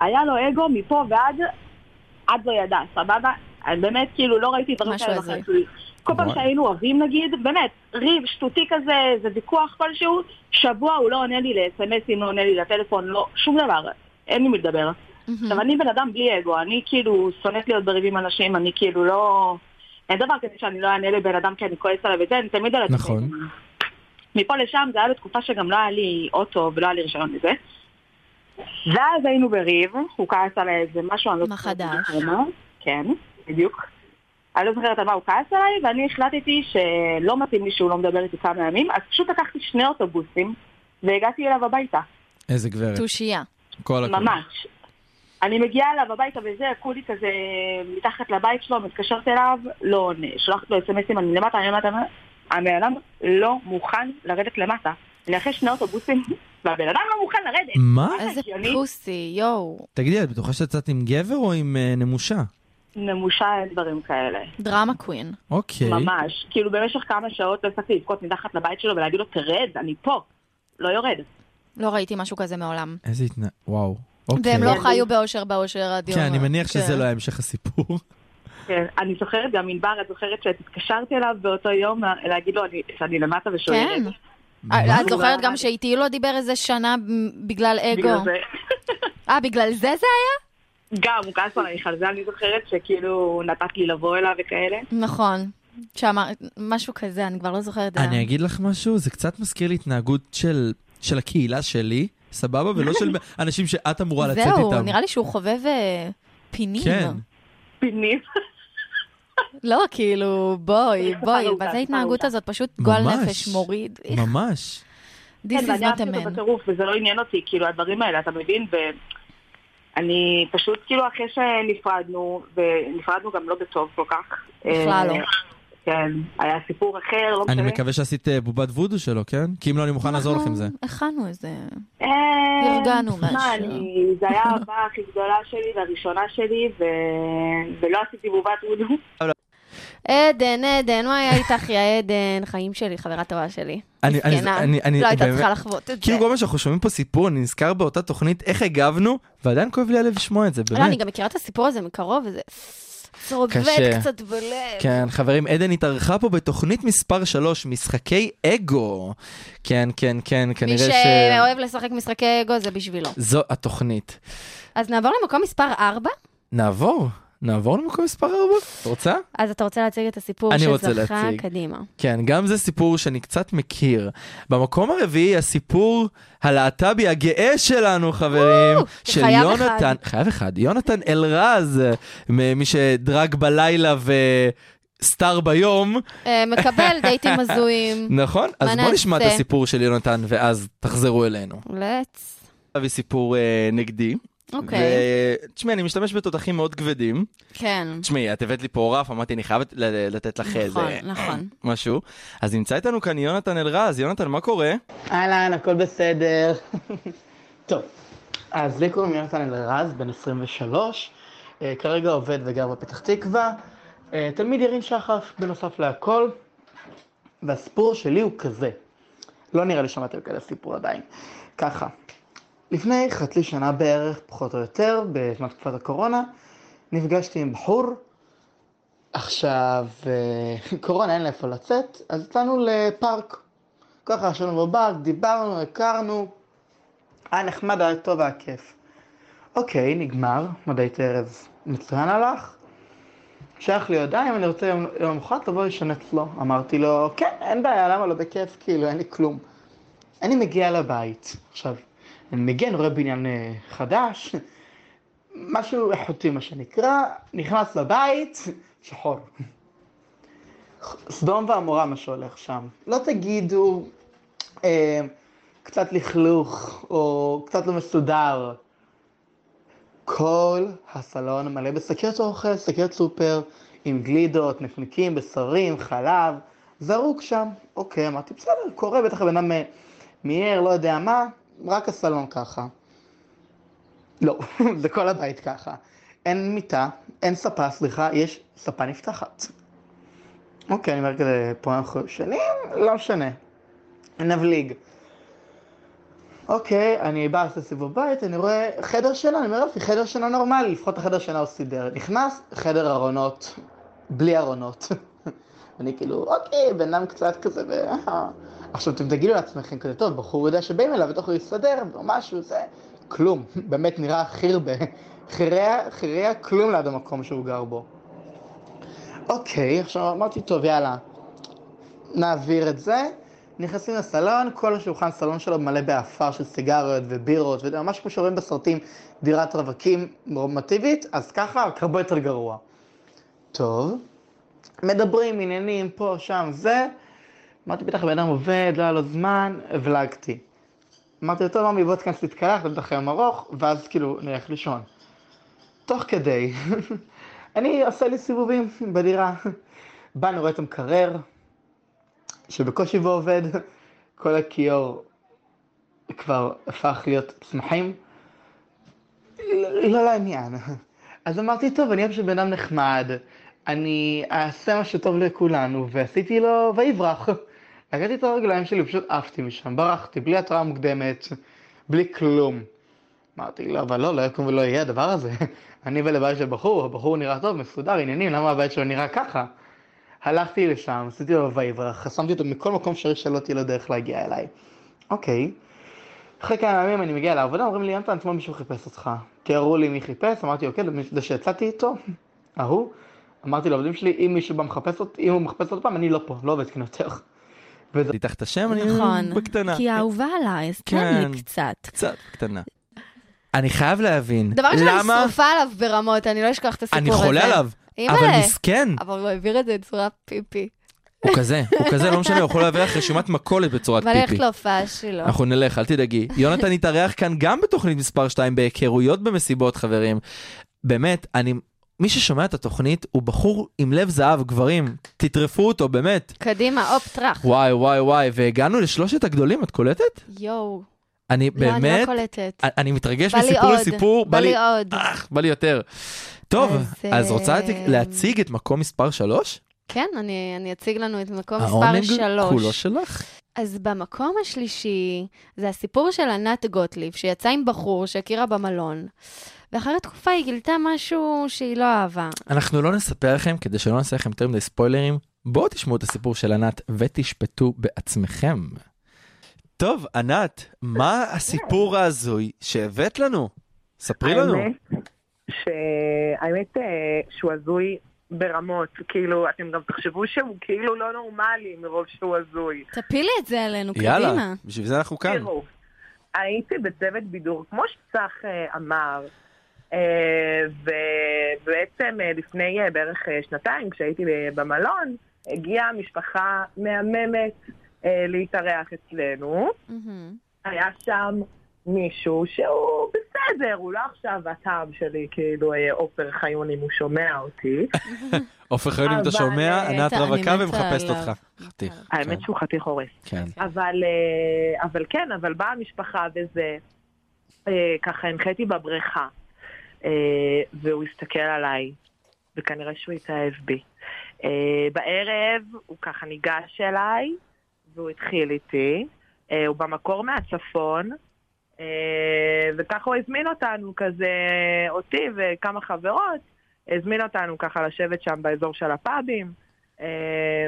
S3: היה לו אגו מפה ועד, עד לא ידע, סבבה? אני באמת, כאילו, לא ראיתי דברים
S5: משהו
S3: כאלה
S5: הזוי.
S3: בחיים שלי. כל פעם
S4: וואי.
S3: שהיינו רבים נגיד, באמת, ריב שטותי כזה, איזה ויכוח כלשהו, שבוע הוא לא עונה לי לסמסים, לא עונה לי לטלפון, לא, שום דבר, אין לי מי לדבר. עכשיו, אני בן אדם בלי אגו, אני כאילו שונאת להיות בריבים עם אנשים, אני כאילו לא... אין דבר כזה שאני לא אענה לבן אדם כי אני כועס עליו וזה, אני תמיד על עצמי.
S4: נכון.
S3: מפה לשם זה היה בתקופה שגם לא היה לי אוטו ולא היה לי רישיון לזה. ואז היינו בריב, הוא כעס עליי איזה משהו, אני לא
S5: מה
S3: זוכרת
S5: חדש?
S3: בדיוק על מה. כן, בדיוק. אני לא זוכרת על מה הוא כעס עליי, ואני החלטתי שלא מתאים לי שהוא לא מדבר איתי כמה ימים, אז פשוט לקחתי שני אוטובוסים והגעתי אליו הביתה.
S4: איזה גברת,
S5: תושייה.
S4: כל הכבוד.
S3: ממש. אני מגיעה אליו הביתה וזה, כולי כזה מתחת לבית שלו, מתקשרת אליו, לא עונה. שולחת לו אסמסים, אני למטה, אני למטה, הבן אדם לא מוכן לרדת למטה. אני אחרי שני אוטובוסים, <laughs> והבן אדם לא מוכן לרדת.
S4: מה?
S5: איזה
S3: הגיוני?
S5: פוסי, יואו.
S4: תגידי, את בטוחה שיצאת עם גבר או עם אה, נמושה?
S3: נמושה אין דברים כאלה,
S5: דרמה קווין.
S4: אוקיי.
S3: ממש. כאילו במשך כמה שעות לא הפסקתי לבכות מתחת לבית שלו ולהגיד לו, תרד, אני פה. לא יורד.
S5: לא ראיתי משהו כזה מעולם.
S4: איזה התנא... וואו. אוקיי.
S5: והם לא חיו באושר באושר עד יום.
S4: כן, אני מניח שזה
S5: כן.
S4: לא היה
S5: <laughs>
S4: המשך הסיפור.
S2: כן, אני זוכרת גם ענבר, את זוכרת שאת התקשרת אליו באותו יום לה- להגיד לו אני- שאני למטה ושואלת.
S5: כן.
S4: מה?
S5: את זוכרת גם שאיתי לא דיבר איזה שנה מ- בגלל
S2: בגלל
S5: אגו.
S2: זה-
S5: אה, בגלל זה זה היה?
S2: גם, הוא כעס עלייך על זה, אני זוכרת שכאילו הוא נתת לי לבוא אליו וכאלה.
S5: נכון. שאמר, משהו כזה, אני כבר לא זוכרת. את זה.
S4: אני אגיד לך משהו, זה קצת מזכיר לי התנהגות של, של הקהילה שלי, סבבה? ולא של
S5: <laughs>
S4: אנשים שאת אמורה לצאת איתם.
S5: זהו, נראה לי שהוא חובב אה, פינים.
S4: כן.
S2: פינים.
S5: לא, כאילו, בואי,
S2: צריך
S5: בואי,
S2: תחרות,
S5: מה זה
S2: תחרות.
S5: ההתנהגות הזאת? פשוט גועל
S4: ממש.
S5: נפש מוריד. איך,
S4: ממש.
S5: This
S2: כן,
S5: is
S2: ואני
S5: not a
S2: אהבתי אותו
S5: man.
S2: בטירוף, וזה לא עניין אותי, כאילו, הדברים האלה, אתה מבין? ואני פשוט, כאילו, אחרי שנפרדנו, ונפרדנו גם לא בטוב כל כך.
S5: בכלל לא.
S2: אה, כן, היה סיפור אחר, לא
S4: אני
S2: משנה.
S4: מקווה שעשית אה, בובת וודו שלו, כן? כי אם לא, אני מוכן לעזור לך עם זה.
S5: אנחנו הכנו איזה...
S2: אה,
S5: ארגנו
S2: שמע,
S5: משהו.
S2: אני- זה היה הבאה הכי גדולה שלי והראשונה שלי, ו... ולא עשיתי בובת וודו.
S5: עדן, עדן, מה היה איתך, יא עדן? חיים שלי, חברה טובה שלי.
S4: אני- אני-
S5: מסכנה.
S4: אני- אני-
S5: לא הייתה
S4: באמת-
S5: צריכה לחוות את זה.
S4: כאילו כל מה שאנחנו שומעים פה סיפור, אני נזכר באותה תוכנית, איך הגבנו, ועדיין כואב לי הלב לשמוע את זה,
S5: לא, אני
S4: באמת.
S5: גם מכירה את הסיפור הזה מקרוב, וזה צובט
S4: קשה.
S5: קצת בלב.
S4: כן, חברים, עדן התארחה פה בתוכנית מספר 3, משחקי אגו. כן, כן, כן,
S5: מי
S4: כנראה ש...
S5: שאוהב לשחק משחקי אגו זה בשבילו.
S4: זו התוכנית.
S5: אז נעבור למקום מספר 4?
S4: נעבור, נעבור למקום מספר 4. את רוצה?
S5: אז אתה רוצה להציג את הסיפור
S4: אני רוצה
S5: שזכה
S4: להציג.
S5: קדימה.
S4: כן, גם זה סיפור שאני קצת מכיר. במקום הרביעי, הסיפור הלהט"בי הגאה שלנו, חברים, של
S5: חייב
S4: יונתן, חייב אחד, יונתן אלרז, מ- מי שדרג בלילה וסטאר ביום,
S5: אה, מקבל דייטים
S4: <laughs>
S5: הזויים.
S4: נכון? אז בוא
S5: נעשה?
S4: נשמע את הסיפור של יונתן ואז תחזרו אלינו.
S5: לץ.
S4: אבי סיפור אה, נגדי.
S5: אוקיי.
S4: ותשמעי, אני משתמש בתותחים מאוד כבדים.
S5: כן.
S4: תשמעי, את הבאת לי פה רף, אמרתי, אני חייב לת- לתת לך איזה...
S5: נכון, נכון.
S4: <clears throat> משהו. אז נמצא איתנו כאן יונתן אלרז. יונתן, מה קורה?
S7: אהלן, הכל בסדר. <laughs> טוב, אז לי קוראים יונתן אלרז, בן 23, אה, כרגע עובד וגר בפתח תקווה, אה, תלמיד ירין שחף, בנוסף להכל, והסיפור שלי הוא כזה. לא נראה לי שמעתם כזה סיפור עדיין. ככה, לפני חצי שנה בערך, פחות או יותר, בזמן תקופת הקורונה, נפגשתי עם בחור. עכשיו, אה, <laughs> קורונה אין לאיפה לצאת, אז יצאנו לפארק. ככה ישבנו בבר, דיברנו, הכרנו, היה נחמד, היה טוב, היה כיף. אוקיי, נגמר, מודעית ערב מצוין הלך, שלח לי הודעה אם אני רוצה יום יום למחרת לבוא לישון אצלו. אמרתי לו, כן, אין בעיה, למה לא בכיף, כאילו, אין לי כלום. אני מגיע לבית, עכשיו, אני מגיע, אני רואה בניין אה, חדש, משהו איכותי מה שנקרא, נכנס לבית, שחור. סדום ועמורה מה שהולך שם. לא תגידו אה, קצת לכלוך או קצת לא מסודר. כל הסלון מלא בשקיות אוכל, שקיות סופר, עם גלידות, נקניקים, בשרים, חלב, זרוק שם. אוקיי, אמרתי, בסדר, קורה, בטח הבן אדם אה, מיהר, לא יודע מה, רק הסלון ככה. לא, <laughs> זה כל הבית ככה. אין מיטה, אין ספה, סליחה, יש ספה נפתחת. אוקיי, אני אומר כזה, פה אנחנו שנים, לא משנה. נבליג. אוקיי, אני בא לעשות סיבוב בית, אני רואה חדר שינה, אני אומר יופי, חדר שינה נורמלי, לפחות החדר שינה הוא סידר. נכנס, חדר ארונות, בלי ארונות. <laughs> אני כאילו, אוקיי, בן אדם קצת כזה, ו... אה. עכשיו אתם תגידו לעצמכם כזה, טוב, בחור יודע שבאים אליו ותוך הוא יסתדר, או משהו, זה... כלום, <laughs> באמת נראה חירבה. חיריה, חיריה כלום ליד המקום שהוא גר בו. אוקיי, עכשיו אמרתי, טוב, יאללה, נעביר את זה. נכנסים לסלון, כל השולחן סלון שלו מלא בעפר של סיגריות ובירות, וממש כמו שרואים בסרטים דירת רווקים נורמטיבית, אז ככה, רק הרבה יותר גרוע. טוב, מדברים, עניינים, פה, שם, זה. אמרתי, בטח בן אדם עובד, לא היה לו זמן, הבלגתי. אמרתי לו, טוב, עמי, בוא תיכנס להתקלח, זה בטח יום ארוך, ואז כאילו, נלך לישון. תוך כדי, <laughs> אני עושה לי סיבובים בדירה. <laughs> בא, אני רואה את המקרר, שבקושי בו עובד, <laughs> כל הכיור כבר הפך להיות צמחים. לא, לא לעניין. אז אמרתי, טוב, אני אוהב שבן אדם נחמד, אני אעשה מה שטוב לכולנו, ועשיתי לו, ויברח. לקחתי את הרגליים שלי, פשוט עפתי משם, ברחתי, בלי התראה מוקדמת, בלי כלום. אמרתי לו, אבל לא, לא יקום ולא יהיה הדבר הזה. <laughs> אני בא לבית של בחור, הבחור נראה טוב, מסודר, עניינים, למה הבית שלו נראה ככה? הלכתי לשם, עשיתי לו וייבר, חסמתי אותו מכל מקום אפשרי שלא תהיה לו דרך להגיע אליי. אוקיי. אחרי כמה ימים אני מגיע לעבודה, אומרים לי, יונתן, אתמול מישהו חיפש אותך. תיארו לי מי חיפש, אמרתי, אוקיי, זה שיצאתי איתו, ההוא. אמרתי לעובדים שלי, אם מישהו בא מחפש אותי, אם הוא מחפש עוד פעם, אני לא פה, לא עובד כאן יותר. וזה-
S4: תיקח את השם, אני
S5: נכון.
S4: בקטנה.
S5: כי האהובה עליי, אז תן
S4: כן.
S5: לי קצת.
S4: קצת קטנה. אני חייב להבין,
S2: דבר ראשון, אני
S4: למה
S2: שרופה עליו ברמות, אני לא אשכח את הסיפור
S4: אני
S2: הזה.
S4: חולה עליו, אבל
S2: אימא'לה.
S4: מסכן,
S2: אבל הוא העביר את זה בצורה פיפי.
S4: הוא כזה, הוא כזה, לא משנה, הוא יכול להביא לך רשימת מכולת בצורת
S2: בא לי ללכת
S4: פיפי.
S5: לא?
S2: להופעה שלו.
S4: אנחנו נלך, אל
S2: <laughs>
S4: תדאגי. יונתן יתארח כאן גם בתוכנית מספר 2 בהיכרויות במסיבות, חברים. באמת, אני... מי ששומע את התוכנית הוא בחור עם לב זהב, גברים. תטרפו אותו, באמת.
S2: קדימה, הופ, טראח.
S4: וואי, וואי, וואי, והגענו לשלושת הגדולים, את קולטת?
S2: יואו.
S4: אני
S2: לא, אני לא
S4: באמת...
S2: קולטת.
S4: אני- אני מתרגש
S2: בא לי
S4: מסיפור
S2: עוד,
S4: לסיפור,
S2: בא לי עוד.
S4: אך, בא לי יותר. טוב,
S2: אז,
S4: אז רוצה
S2: אה,
S4: להציג- להציג את מקום מספר 3?
S2: כן, אני אני אציג לנו את מקום מספר
S4: כולו
S2: שלוש.
S4: לא שלך.
S2: אז במקום השלישי, זה הסיפור של ענת גוטליב, שיצאה עם בחור שהכירה במלון, ואחרי תקופה היא גילתה משהו שהיא לא אהבה.
S4: אנחנו לא נספר לכם כדי שלא נעשה לכם יותר מדי ספוילרים. בואו תשמעו את הסיפור של ענת ותשפטו בעצמכם. טוב, ענת, מה הסיפור ההזוי שהבאת לנו? ספרי לנו.
S12: האמת שהאמת אה, שהוא הזוי ברמות, כאילו, אתם גם תחשבו שהוא כאילו לא נורמלי מרוב שהוא הזוי.
S5: תפילי את זה עלינו, קדימה.
S4: יאללה, בשביל זה אנחנו כאן.
S12: תראו, הייתי בצוות בידור, כמו שצח אה, אמר, אה, ובעצם אה, לפני אה, בערך אה, שנתיים, כשהייתי ב- במלון, הגיעה משפחה מהממת אה, להתארח אצלנו.
S5: מהמם.
S12: היה שם מישהו שהוא בסדר, הוא לא עכשיו הטעם שלי, כאילו אה, עופר חיון אם הוא שומע אותי.
S4: עופר חיון, אם אתה
S12: אבל,
S4: שומע,
S12: אה,
S4: ענת
S5: אני
S4: רווקה
S5: מתה
S4: ומחפשת
S5: עליו.
S4: אותך. חתיך.
S12: האמת שהוא חתיך הורס.
S4: כן.
S12: אבל, אה, אבל כן, אבל באה המשפחה וזה, אה, ככה הנחיתי בבריכה, אה, והוא הסתכל עליי, וכנראה שהוא התאהב בי. אה, בערב הוא ככה ניגש אליי, והוא התחיל איתי, אה, הוא במקור מהצפון, אה, וככה הוא הזמין אותנו, כזה, אותי וכמה חברות, הזמין אותנו ככה לשבת שם באזור של הפאבים. אה,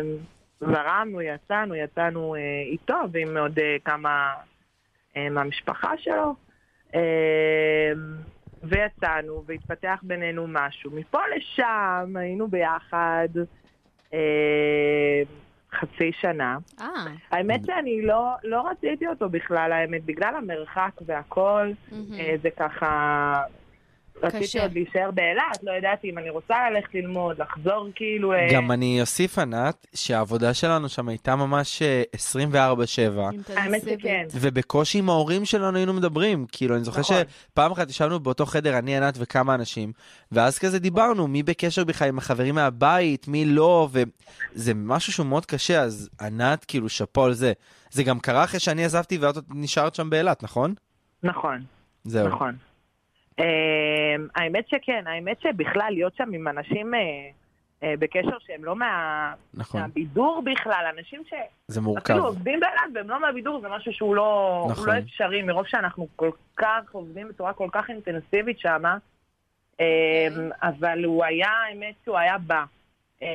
S12: זרמנו, יצאנו, יצאנו אה, איתו ועם עוד אה, כמה אה, מהמשפחה שלו. אה, ויצאנו, והתפתח בינינו משהו. מפה לשם היינו ביחד אה, חצי שנה.
S5: אה,
S12: האמת שאני לא, לא רציתי אותו בכלל, האמת, בגלל המרחק והכל,
S5: מהמם.
S12: אה, זה ככה... רציתי
S5: קשה.
S12: עוד להישאר באילת, לא ידעתי אם אני רוצה ללכת ללמוד, לחזור כאילו... אה,
S4: גם אני אוסיף, ענת, שהעבודה שלנו שם הייתה ממש אה, 24/7.
S12: האמת שכן.
S4: ובקושי עם ההורים שלנו היינו מדברים. כאילו, אני זוכר
S12: נכון.
S4: שפעם אחת ישבנו באותו חדר, אני, ענת וכמה אנשים, ואז כזה דיברנו, מי בקשר בכלל עם החברים מהבית, מי לא, וזה משהו שהוא מאוד קשה, אז ענת, כאילו, שאפו על זה. זה גם קרה אחרי שאני עזבתי ואת עוד נשארת שם באילת, נכון?
S12: נכון.
S4: זהו.
S12: נכון. אמ, האמת שכן, האמת שבכלל להיות שם עם אנשים אה, אה, בקשר שהם לא מה-
S4: נכון.
S12: מהבידור בכלל, אנשים שאפילו
S4: זה מורכב.
S12: כאילו, עובדים באילת והם לא מהבידור, זה משהו שהוא לא הוא
S4: נכון.
S12: לא אפשרי, מרוב שאנחנו כל כך עובדים בצורה כל כך אינטנסיבית שם, אבל הוא היה, האמת שהוא היה בא. אה,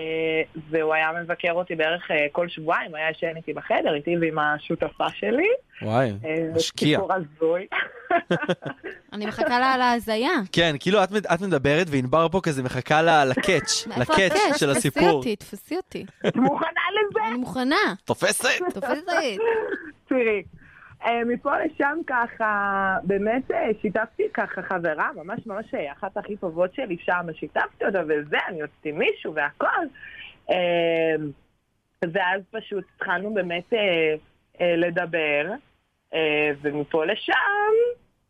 S12: והוא היה מבקר אותי בערך אה, כל שבועיים, הוא היה ישן איתי בחדר, איתי ועם השותפה שלי.
S4: וואי,
S12: אה,
S4: משקיע.
S12: סיפור הזוי.
S5: אני מחכה לה על ההזיה.
S4: כן, כאילו, את מד- את מדברת וענבר פה כזה מחכה ל-
S5: <laughs>
S4: לקאץ',
S5: מאיפה
S4: לקאץ'
S5: הקאץ'?
S4: של
S5: תפסי
S4: הסיפור.
S5: אותי, תפסי אותי.
S12: את מוכנה לזה?
S5: אני מוכנה.
S4: תופסת?
S5: תופסת אותי.
S12: תראי, אה, מפה לשם ככה, באמת אה, שיתפתי ככה חברה, ממש ממש אה, אחת הכי טובות שלי שם, שיתפתי אותה וזה, אני הוצאתי מישהו והכל. אה, ואז פשוט התחלנו באמת אה, אה, לדבר, אה, ומפה לשם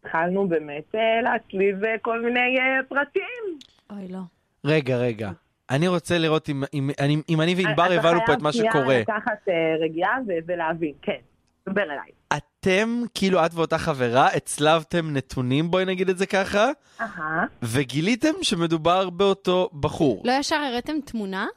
S12: התחלנו באמת אה, להצליב אה, כל מיני אה, פרטים.
S5: אוי, לא.
S4: רגע, רגע. אני רוצה לראות אם- אם אם- אם אני וענבר
S12: אה, אתה
S4: הבנו פה
S12: חייב
S4: את מה
S12: שנייה
S4: שקורה.
S12: לקחת אה, רגיעה ו- ולהבין, כן, דבר אליי.
S4: אתם, כאילו את ואותה חברה, הצלבתם נתונים, בואי נגיד את זה ככה,
S12: אהה.
S4: וגיליתם שמדובר באותו בחור.
S5: לא ישר הראיתם תמונה?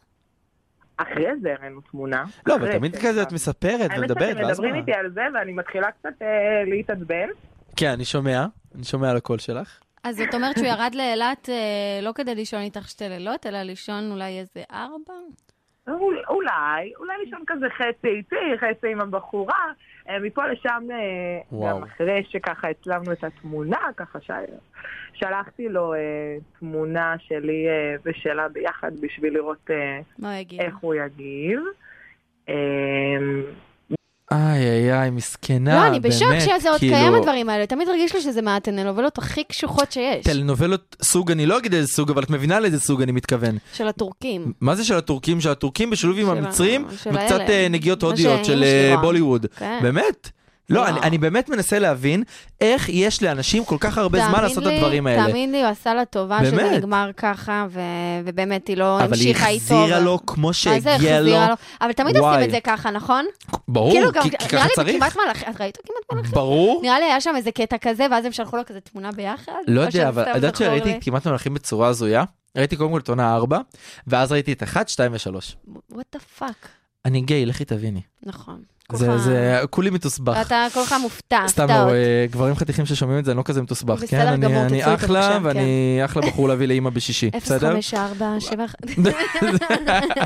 S12: אחרי זה הראינו תמונה.
S4: לא, אבל
S12: אחרי
S4: תמיד
S12: זה.
S4: כזה את מספרת
S12: האמת
S4: ומדברת,
S12: שאתם
S4: ואז
S12: מדברים
S4: מה?
S12: איתי על זה ואני מתחילה קצת אה, להתעצבן,
S4: כן, אני שומע, אני שומע על הקול שלך.
S5: אז זאת אומרת שהוא ירד לאילת אה, לא כדי לישון איתך שתי לילות, אלא לישון אולי איזה ארבע?
S12: אול- אולי, אולי לישון כזה חצי איתי, חצי עם הבחורה. אה, מפה לשם, אה,
S4: וואו.
S12: גם אחרי שככה הצלמנו את התמונה, ככה ש- שלחתי לו אה, תמונה שלי אה, ושלה ביחד בשביל לראות אה,
S5: מה הוא יגיד?
S12: איך הוא יגיב. אה,
S4: איי איי איי, מסכנה,
S2: לא,
S4: אה, באמת,
S2: אני בשוק שזה עוד
S4: כאילו,
S2: קיים הדברים האלה. תמיד הרגיש לי שזה מהטנלובלות הכי קשוחות שיש,
S4: טלנובלות סוג, אני לא אגיד איזה סוג, אבל את מבינה לאיזה סוג אני מתכוון.
S2: של הטורקים.
S4: מה זה של הטורקים? של הטורקים בשילוב עם
S2: של ה-
S4: המצרים,
S2: של
S4: וקצת
S2: האלה.
S4: אה, נגיעות
S2: מה
S4: הודיות
S2: שאמא
S4: של
S2: שלי
S4: אה,
S2: רואה.
S4: בוליווד.
S2: כן.
S4: באמת? לא,
S2: לא.
S4: אני, אני באמת מנסה להבין איך יש לאנשים כל כך הרבה זמן
S2: תאמין
S4: לעשות את
S2: לי-
S4: הדברים האלה.
S2: תאמין לי, הוא עשה לה טובה שזה
S4: באמת.
S2: נגמר ככה, ו- ובאמת היא לא
S4: אבל היא
S2: המשיכה איתו.
S4: החזירה
S2: ו-
S4: לו כמו
S2: מה זה
S4: שהגיע לו.
S2: החזירה לו? אבל תמיד
S4: וואי.
S2: עושים את זה ככה, נכון?
S4: ברור,
S2: כאילו, גם-
S4: כי, כי
S2: נראה
S4: ככה
S2: לי
S4: צריך.
S2: בכמעט מלאכים, את ראית כמעט מלאכים? <laughs>
S4: ברור.
S2: נראה לי היה שם איזה קטע כזה, ואז הם שלחו לו כזה תמונה ביחד.
S4: לא
S2: או
S4: יודע,
S2: שזה
S4: אבל
S2: סתם
S4: את יודעת
S2: זכור
S4: שראיתי
S2: לי?
S4: את כמעט מלאכים בצורה הזויה. ראיתי קודם כל את עונה 4, ואז ראיתי את 1, 2 ו-3.
S2: וואט דה פאק.
S4: אני גיי, לכי תביני.
S2: נכון.
S4: זה,
S2: ככה-
S4: זה, כולי מתוסבך.
S2: אתה כל כך מופתע,
S4: סתם
S2: הפתעות.
S4: לא, אה, גברים חתיכים ששומעים את זה, אני לא כזה מתוסבך.
S2: בסדר
S4: כן, אני,
S2: גמור,
S4: אני
S2: תצאו כן. איתו
S4: אחלה,
S2: בבקשה,
S4: ואני אחלה בחור להביא לאימא
S2: <laughs>
S4: בשישי, בסדר?
S2: 054, 7...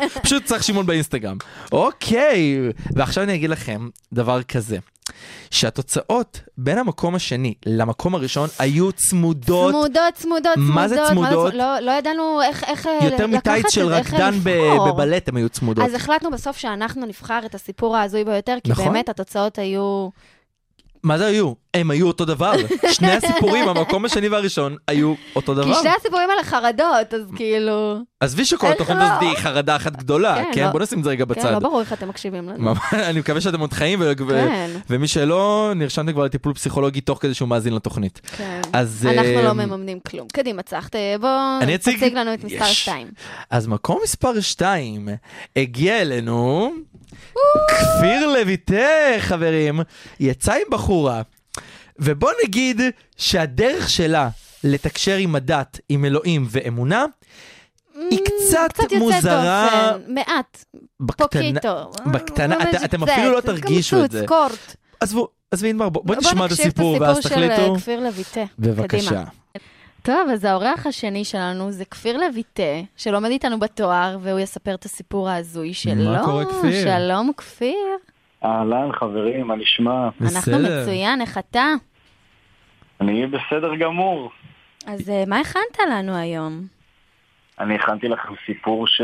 S4: <laughs> פשוט צריך שמעון באינסטגרם. אוקיי, ועכשיו אני אגיד לכם דבר כזה, שהתוצאות בין המקום השני למקום הראשון היו צמודות.
S2: צמודות, צמודות, צמודות.
S4: מה זה צמודות?
S2: לא, לא ידענו איך, איך
S4: יותר
S2: לקחת
S4: מטייץ
S2: את
S4: של
S2: זה, איך
S4: רקדן ב-
S2: לבחור.
S4: בבלט הם היו צמודות.
S2: אז החלטנו בסוף שאנחנו נבחר את הסיפור ההזוי ביותר, כי
S4: נכון.
S2: באמת התוצאות היו...
S4: מה זה היו? הם היו אותו
S2: <laughs>
S4: דבר. שני הסיפורים, המקום השני והראשון, היו אותו
S2: כי
S4: דבר.
S2: שני הסיפורים האלה חרדות, אז כאילו...
S4: עזבי שכל
S2: איך
S4: התוכנית
S2: לא?
S4: הזאת היא חרדה אחת גדולה,
S2: כן,
S4: כן?
S2: לא-
S4: בוא נשים את זה רגע
S2: כן,
S4: בצד.
S2: לא ברור איך אתם מקשיבים לנו.
S4: ממש, <laughs> אני מקווה שאתם עוד חיים, ו- ו-
S2: כן,
S4: ומי שלא, נרשמתם כבר לטיפול פסיכולוגי תוך כדי שהוא מאזין לתוכנית.
S2: כן.
S4: אז...
S2: אנחנו
S4: אה,
S2: לא מממנים כלום. קדימה, צח, ת- בוא
S4: אני אציג-
S2: תציג לנו את מספר
S4: יש.
S2: 2.
S4: אז מקום מספר 2 הגיע אלינו כפיר לויטה, חברים, יצא עם בחורה, ובוא נגיד שהדרך שלה לתקשר עם הדת, עם אלוהים ואמונה, היא
S5: Mm,
S4: קצת,
S2: קצת יוצא
S4: מוזרה
S2: דופן, מעט,
S4: בקטנה.
S2: פוקיטו.
S4: בקטנה,
S2: ממש
S4: אתה- אתם
S2: קצת,
S4: אפילו לא
S2: קמצוץ,
S4: תרגישו את זה.
S2: קורט.
S4: עזבו, עזבי ענבר, בוא, בוא נשמע את הסיפור
S2: בוא
S4: ואז
S2: נקשיב לסיפור של
S4: תחליטו.
S2: אה, כפיר לויטה.
S4: בבקשה.
S2: קדימה.
S5: טוב, אז האורח השני שלנו זה כפיר לויטה, שלומד איתנו בתואר, והוא יספר את הסיפור ההזוי שלו.
S4: קורה, כפיר?
S5: שלום, כפיר.
S13: אהלן חברים, מה נשמע?
S5: אנחנו מצוין, איך אתה?
S13: אני בסדר גמור.
S5: אז אה, מה הכנת לנו היום?
S13: אני הכנתי לכם סיפור ש...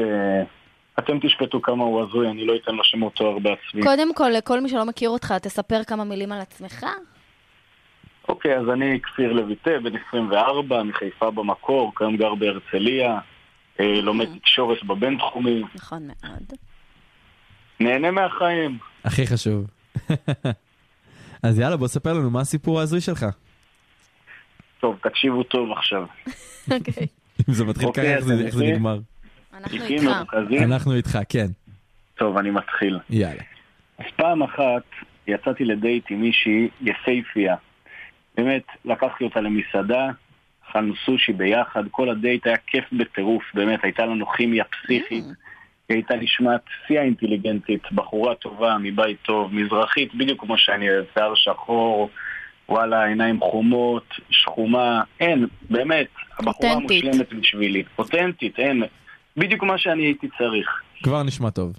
S13: אתם תשפטו כמה הוא הזוי, אני לא אתן לו שמות תואר בעצמי.
S5: קודם כל, לכל מי שלא מכיר אותך, תספר כמה מילים על עצמך.
S13: אוקיי, אז אני כפיר לויטה, בן 24, מחיפה במקור, כיום גר בהרצליה, אה, לומד תקשורת בבינתחומי,
S5: נכון מאוד.
S13: נהנה מהחיים.
S4: הכי חשוב. <laughs> אז יאללה, בוא ספר לנו מה הסיפור ההזוי שלך. <laughs>
S13: טוב, תקשיבו טוב עכשיו.
S5: אוקיי.
S4: אם זה מתחיל
S13: אוקיי,
S4: ככה, איך זה-
S13: אתה
S4: איך זה
S13: מבין?
S4: נגמר.
S5: אנחנו
S13: תיקים
S5: איתך.
S13: מרוכזים.
S4: אנחנו איתך, כן.
S13: טוב, אני מתחיל.
S4: יאללה.
S13: אז פעם אחת יצאתי לדייט עם מישהי יפייפייה. באמת, לקחתי אותה למסעדה, אכלנו סושי ביחד, כל הדייט היה כיף בטירוף, באמת, הייתה לנו כימיה פסיכית. היא הייתה נשמעת שיא האינטליגנטית, בחורה טובה, מבית טוב, מזרחית, בדיוק כמו שאני אוהב, שיער שחור, וואלה, עיניים חומות, שחומה, אין, באמת, הבחורה
S5: אותנטית.
S13: המושלמת בשבילי. אותנטית, אין, בדיוק מה שאני הייתי צריך.
S4: כבר נשמע טוב.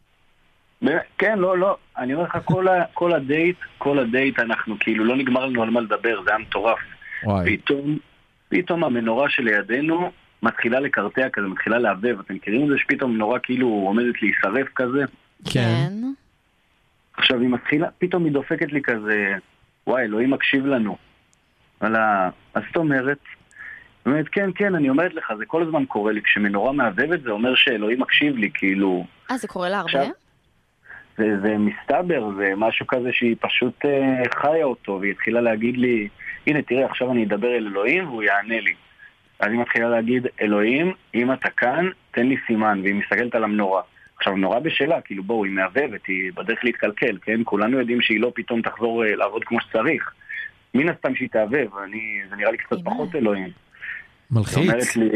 S13: באמת, כן, לא, לא. אני אומר לך, כל, ה, כל הדייט, כל הדייט אנחנו כאילו, לא נגמר לנו על מה לדבר, זה היה מטורף.
S4: וואי.
S13: פתאום, פתאום המנורה שלידינו מתחילה לקרטע כזה, מתחילה לעבב. אתם מכירים את זה שפתאום מנורה כאילו עומדת להישרף כזה?
S4: כן.
S13: עכשיו היא מתחילה, פתאום היא דופקת לי כזה, וואי, אלוהים מקשיב לנו. וואלה, מה זאת אומרת? היא אומרת, כן, כן, אני אומרת לך, זה כל הזמן קורה לי. כשמנורה מעבבת זה אומר שאלוהים מקשיב לי, כאילו...
S5: אה, זה קורה לה הרבה?
S13: עכשיו, זה, זה מסתבר, זה משהו כזה שהיא פשוט אה, חיה אותו, והיא התחילה להגיד לי, הנה תראה, עכשיו אני אדבר אל אלוהים והוא יענה לי. אז היא מתחילה להגיד, אלוהים, אם אתה כאן, תן לי סימן, והיא מסתכלת על המנורה. עכשיו, המנורה בשלה, כאילו בואו, היא מעבבת, היא בדרך להתקלקל, כן? כולנו יודעים שהיא לא פתאום תחזור אה, לעבוד כמו שצריך. מן הסתם שהיא תעבב, אני, זה נראה לי קצת
S5: אימא.
S13: פחות אלוהים. היא
S4: מלחיץ.
S13: אומרת לי,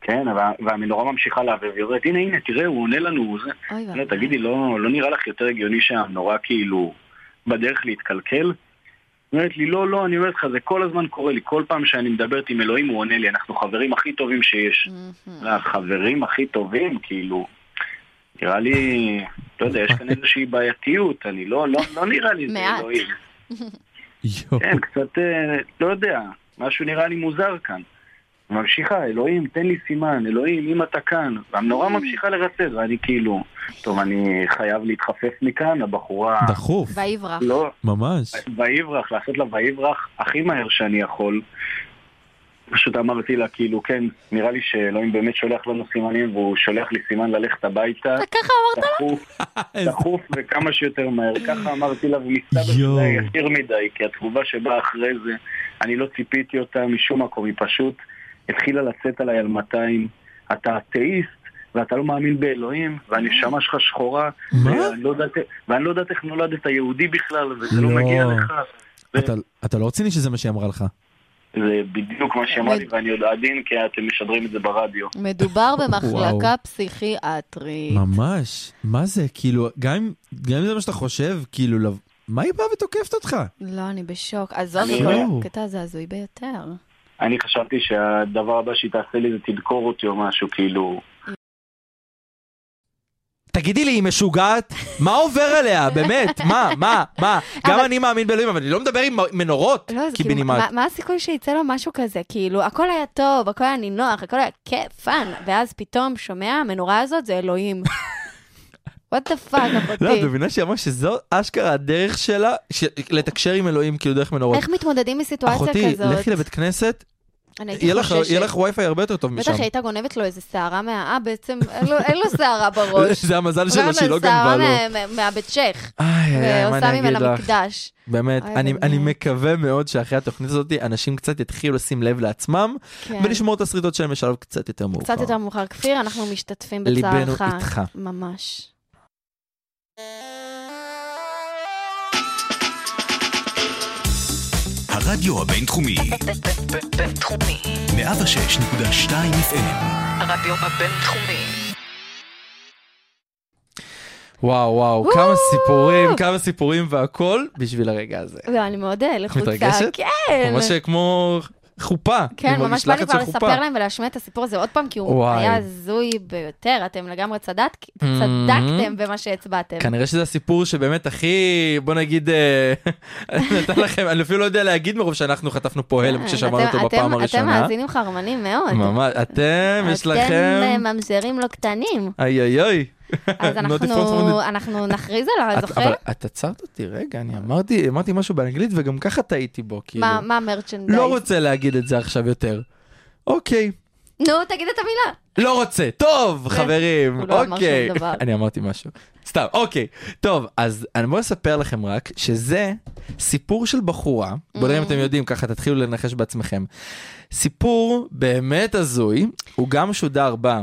S13: כן, אבל- והמנורה ממשיכה לעבב, היא אומרת, הנה, הנה, תראה, הוא עונה לנו, הוא זה.
S5: אוי
S13: לא,
S5: ואבוי.
S13: תגידי, לא, לא נראה לך יותר הגיוני שהמנורה כאילו בדרך להתקלקל? אומרת לי, לא, לא, אני אומר לך, זה כל הזמן קורה לי. כל פעם שאני מדברת עם אלוהים, הוא עונה לי, אנחנו חברים הכי טובים שיש. החברים הכי טובים, כאילו, נראה לי, לא יודע,
S5: <laughs>
S13: יש כאן איזושהי בעייתיות, אני לא, לא, לא נראה לי זה
S5: מעט.
S13: אלוהים. כן, קצת, אה, לא יודע, משהו נראה לי מוזר כאן. ממשיכה, אלוהים, תן לי סימן, אלוהים, אם אתה כאן. והמנורה
S5: Mm.
S13: ממשיכה לרצד, ואני כאילו, טוב, אני חייב להתחפף מכאן, הבחורה...
S14: דחוף,
S5: ויברח.
S13: לא,
S14: ממש.
S13: ויברח, לעשות לה ויברח הכי מהר שאני יכול. פשוט אמרתי לה, כאילו, כן, נראה לי שאלוהים באמת שולח לנו סימנים, והוא שולח לי סימן ללכת הביתה.
S5: אתה ככה
S14: <laughs>
S5: אמרת?
S13: דחוף, דחוף וכמה שיותר מהר. ככה אמרתי לה, ומסתבר
S14: יואו.
S13: שזה היה יקר מדי, כי התגובה שבאה אחרי זה, אני לא ציפיתי אותה משום מקום, היא פשוט התחילה לצאת עליי על 200. אתה אתאיסט, ואתה לא מאמין באלוהים, והנשמה שלך שחורה,
S14: מה?
S13: ואני לא יודעת- ואני לא יודעת איך נולדת יהודי בכלל, וזה לא
S14: לא.
S13: מגיע לך. זה-
S14: אתה- אתה לא רציני שזה מה שהיא אמרה לך.
S13: זה בדיוק מה שאמרתי, ואני עוד עדין, כי אתם משדרים את זה ברדיו.
S4: <laughs>
S5: מדובר במחלקה
S14: וואו.
S5: פסיכיאטרית.
S14: ממש. מה זה, כאילו, גם אם גם אם זה מה שאתה חושב, כאילו,
S4: לא-
S14: לב- מה היא באה ותוקפת אותך?
S5: לא, אני בשוק. עזוב,
S13: אני- לא.
S5: זה כל
S14: יואו.
S5: הקטע הזה הזוי ביותר.
S13: אני חשבתי שהדבר הבא שהיא תעשה לי זה תדקור אותי או משהו, כאילו...
S4: תגידי לי, היא משוגעת? מה עובר עליה? באמת, מה, מה, מה? גם אני מאמין באלוהים, אבל אני לא מדבר עם מנורות,
S5: לא, זה כאילו,
S4: קיבינימט.
S5: מה, מה הסיכוי שיצא לו משהו כזה? כאילו, הכל היה טוב, הכל היה נינוח, הכל היה כיף, פאן, ואז פתאום שומע, המנורה הזאת זה
S4: <laughs>
S5: אלוהים. וואט דה פאק,
S4: לא, את
S5: אחותי.
S4: מבינה שהיא אמרה שזו אשכרה הדרך שלה ש- לתקשר עם אלוהים, כאילו דרך מנורות.
S5: איך מתמודדים מסיטואציה
S4: אחותי,
S5: כזאת?
S4: לכי לבית כנסת,
S5: אני הייתי
S4: יהיה לך-
S5: חוששת.
S4: יהיה לך וי-פיי הרבה יותר טוב משם.
S5: בטח שהייתה גונבת לו איזה שערה מה... אה, בעצם אין לו- אין לו
S4: <laughs>
S5: שערה בראש.
S4: זה המזל שלו
S5: אבל
S4: שהיא לא
S5: שערה
S4: גנבה לו.
S5: מה- מה- מהבית צ'ך,
S4: איי, איי, מה
S5: ועושה
S4: אני אגיד
S5: ממנה
S4: לך?
S5: מקדש.
S4: באמת,
S5: אוי,
S4: אני,
S5: באמת.
S4: אני מקווה מאוד שאחרי התוכנית הזאת אנשים קצת יתחילו לשים לב לעצמם
S5: כן.
S4: ולשמור את השריטות שלהם בשלב קצת יותר מאוחר.
S5: קצת יותר מאוחר. כפיר, אנחנו משתתפים
S4: ליבנו
S5: בצערך.
S4: איתך.
S5: ממש.
S1: הרדיו הבינתחומי,
S10: בינתחומי.
S1: 106.2 FM,
S10: הרדיו הבינתחומי.
S4: וואו וואו,
S5: וואו.
S4: כמה סיפורים, כמה סיפורים והכל בשביל הרגע הזה.
S5: ואני מאוד אה, לחוצה.
S4: מתרגשת?
S5: כן.
S4: ממש אה, כמו חופה.
S5: כן,
S4: כמו
S5: ממש בא לי
S4: משלחת
S5: כבר
S4: של
S5: לספר
S4: חופה.
S5: להם ולהשמיע את הסיפור הזה עוד פעם, כי הוא
S4: וואי.
S5: היה הזוי ביותר, אתם לגמרי צדק,
S4: Mm.
S5: צדקתם במה שהצבעתם.
S4: כנראה שזה הסיפור שבאמת הכי, בוא נגיד, אה, <laughs> נתן לכם, אני אפילו לא יודע להגיד מרוב שאנחנו חטפנו פה הלם
S5: כן,
S4: כששמענו
S5: אתם-
S4: אותו בפעם
S5: אתם- אתם
S4: הראשונה.
S5: מאזינים חרמנים מאוד.
S4: ממש, אתם, יש לכם...
S5: אתם אה, ממזרים לא קטנים.
S4: איי איי איי. <laughs>
S5: אז
S4: Not
S5: אנחנו-
S4: the first one that-
S5: אנחנו נכריז עליו,
S4: את-
S5: זוכר?
S4: אבל את עצרת אותי, רגע, אני אמרתי, אמרתי משהו באנגלית וגם ככה טעיתי בו, כאילו.
S5: מה מה המרצ'נדייז?
S4: לא רוצה להגיד את זה עכשיו יותר. אוקיי,
S5: נו, תגיד את המילה.
S4: לא רוצה. טוב, חברים,
S5: הוא לא אמר
S4: אוקיי.
S5: שום דבר.
S4: <laughs> אני אמרתי משהו. סתם, אוקיי. טוב, אז אני בוא אספר לכם רק שזה סיפור של בחורה, בואו נראה אם
S5: Mm.
S4: אתם יודעים, ככה תתחילו לנחש בעצמכם. סיפור באמת הזוי, הוא גם שודר ב...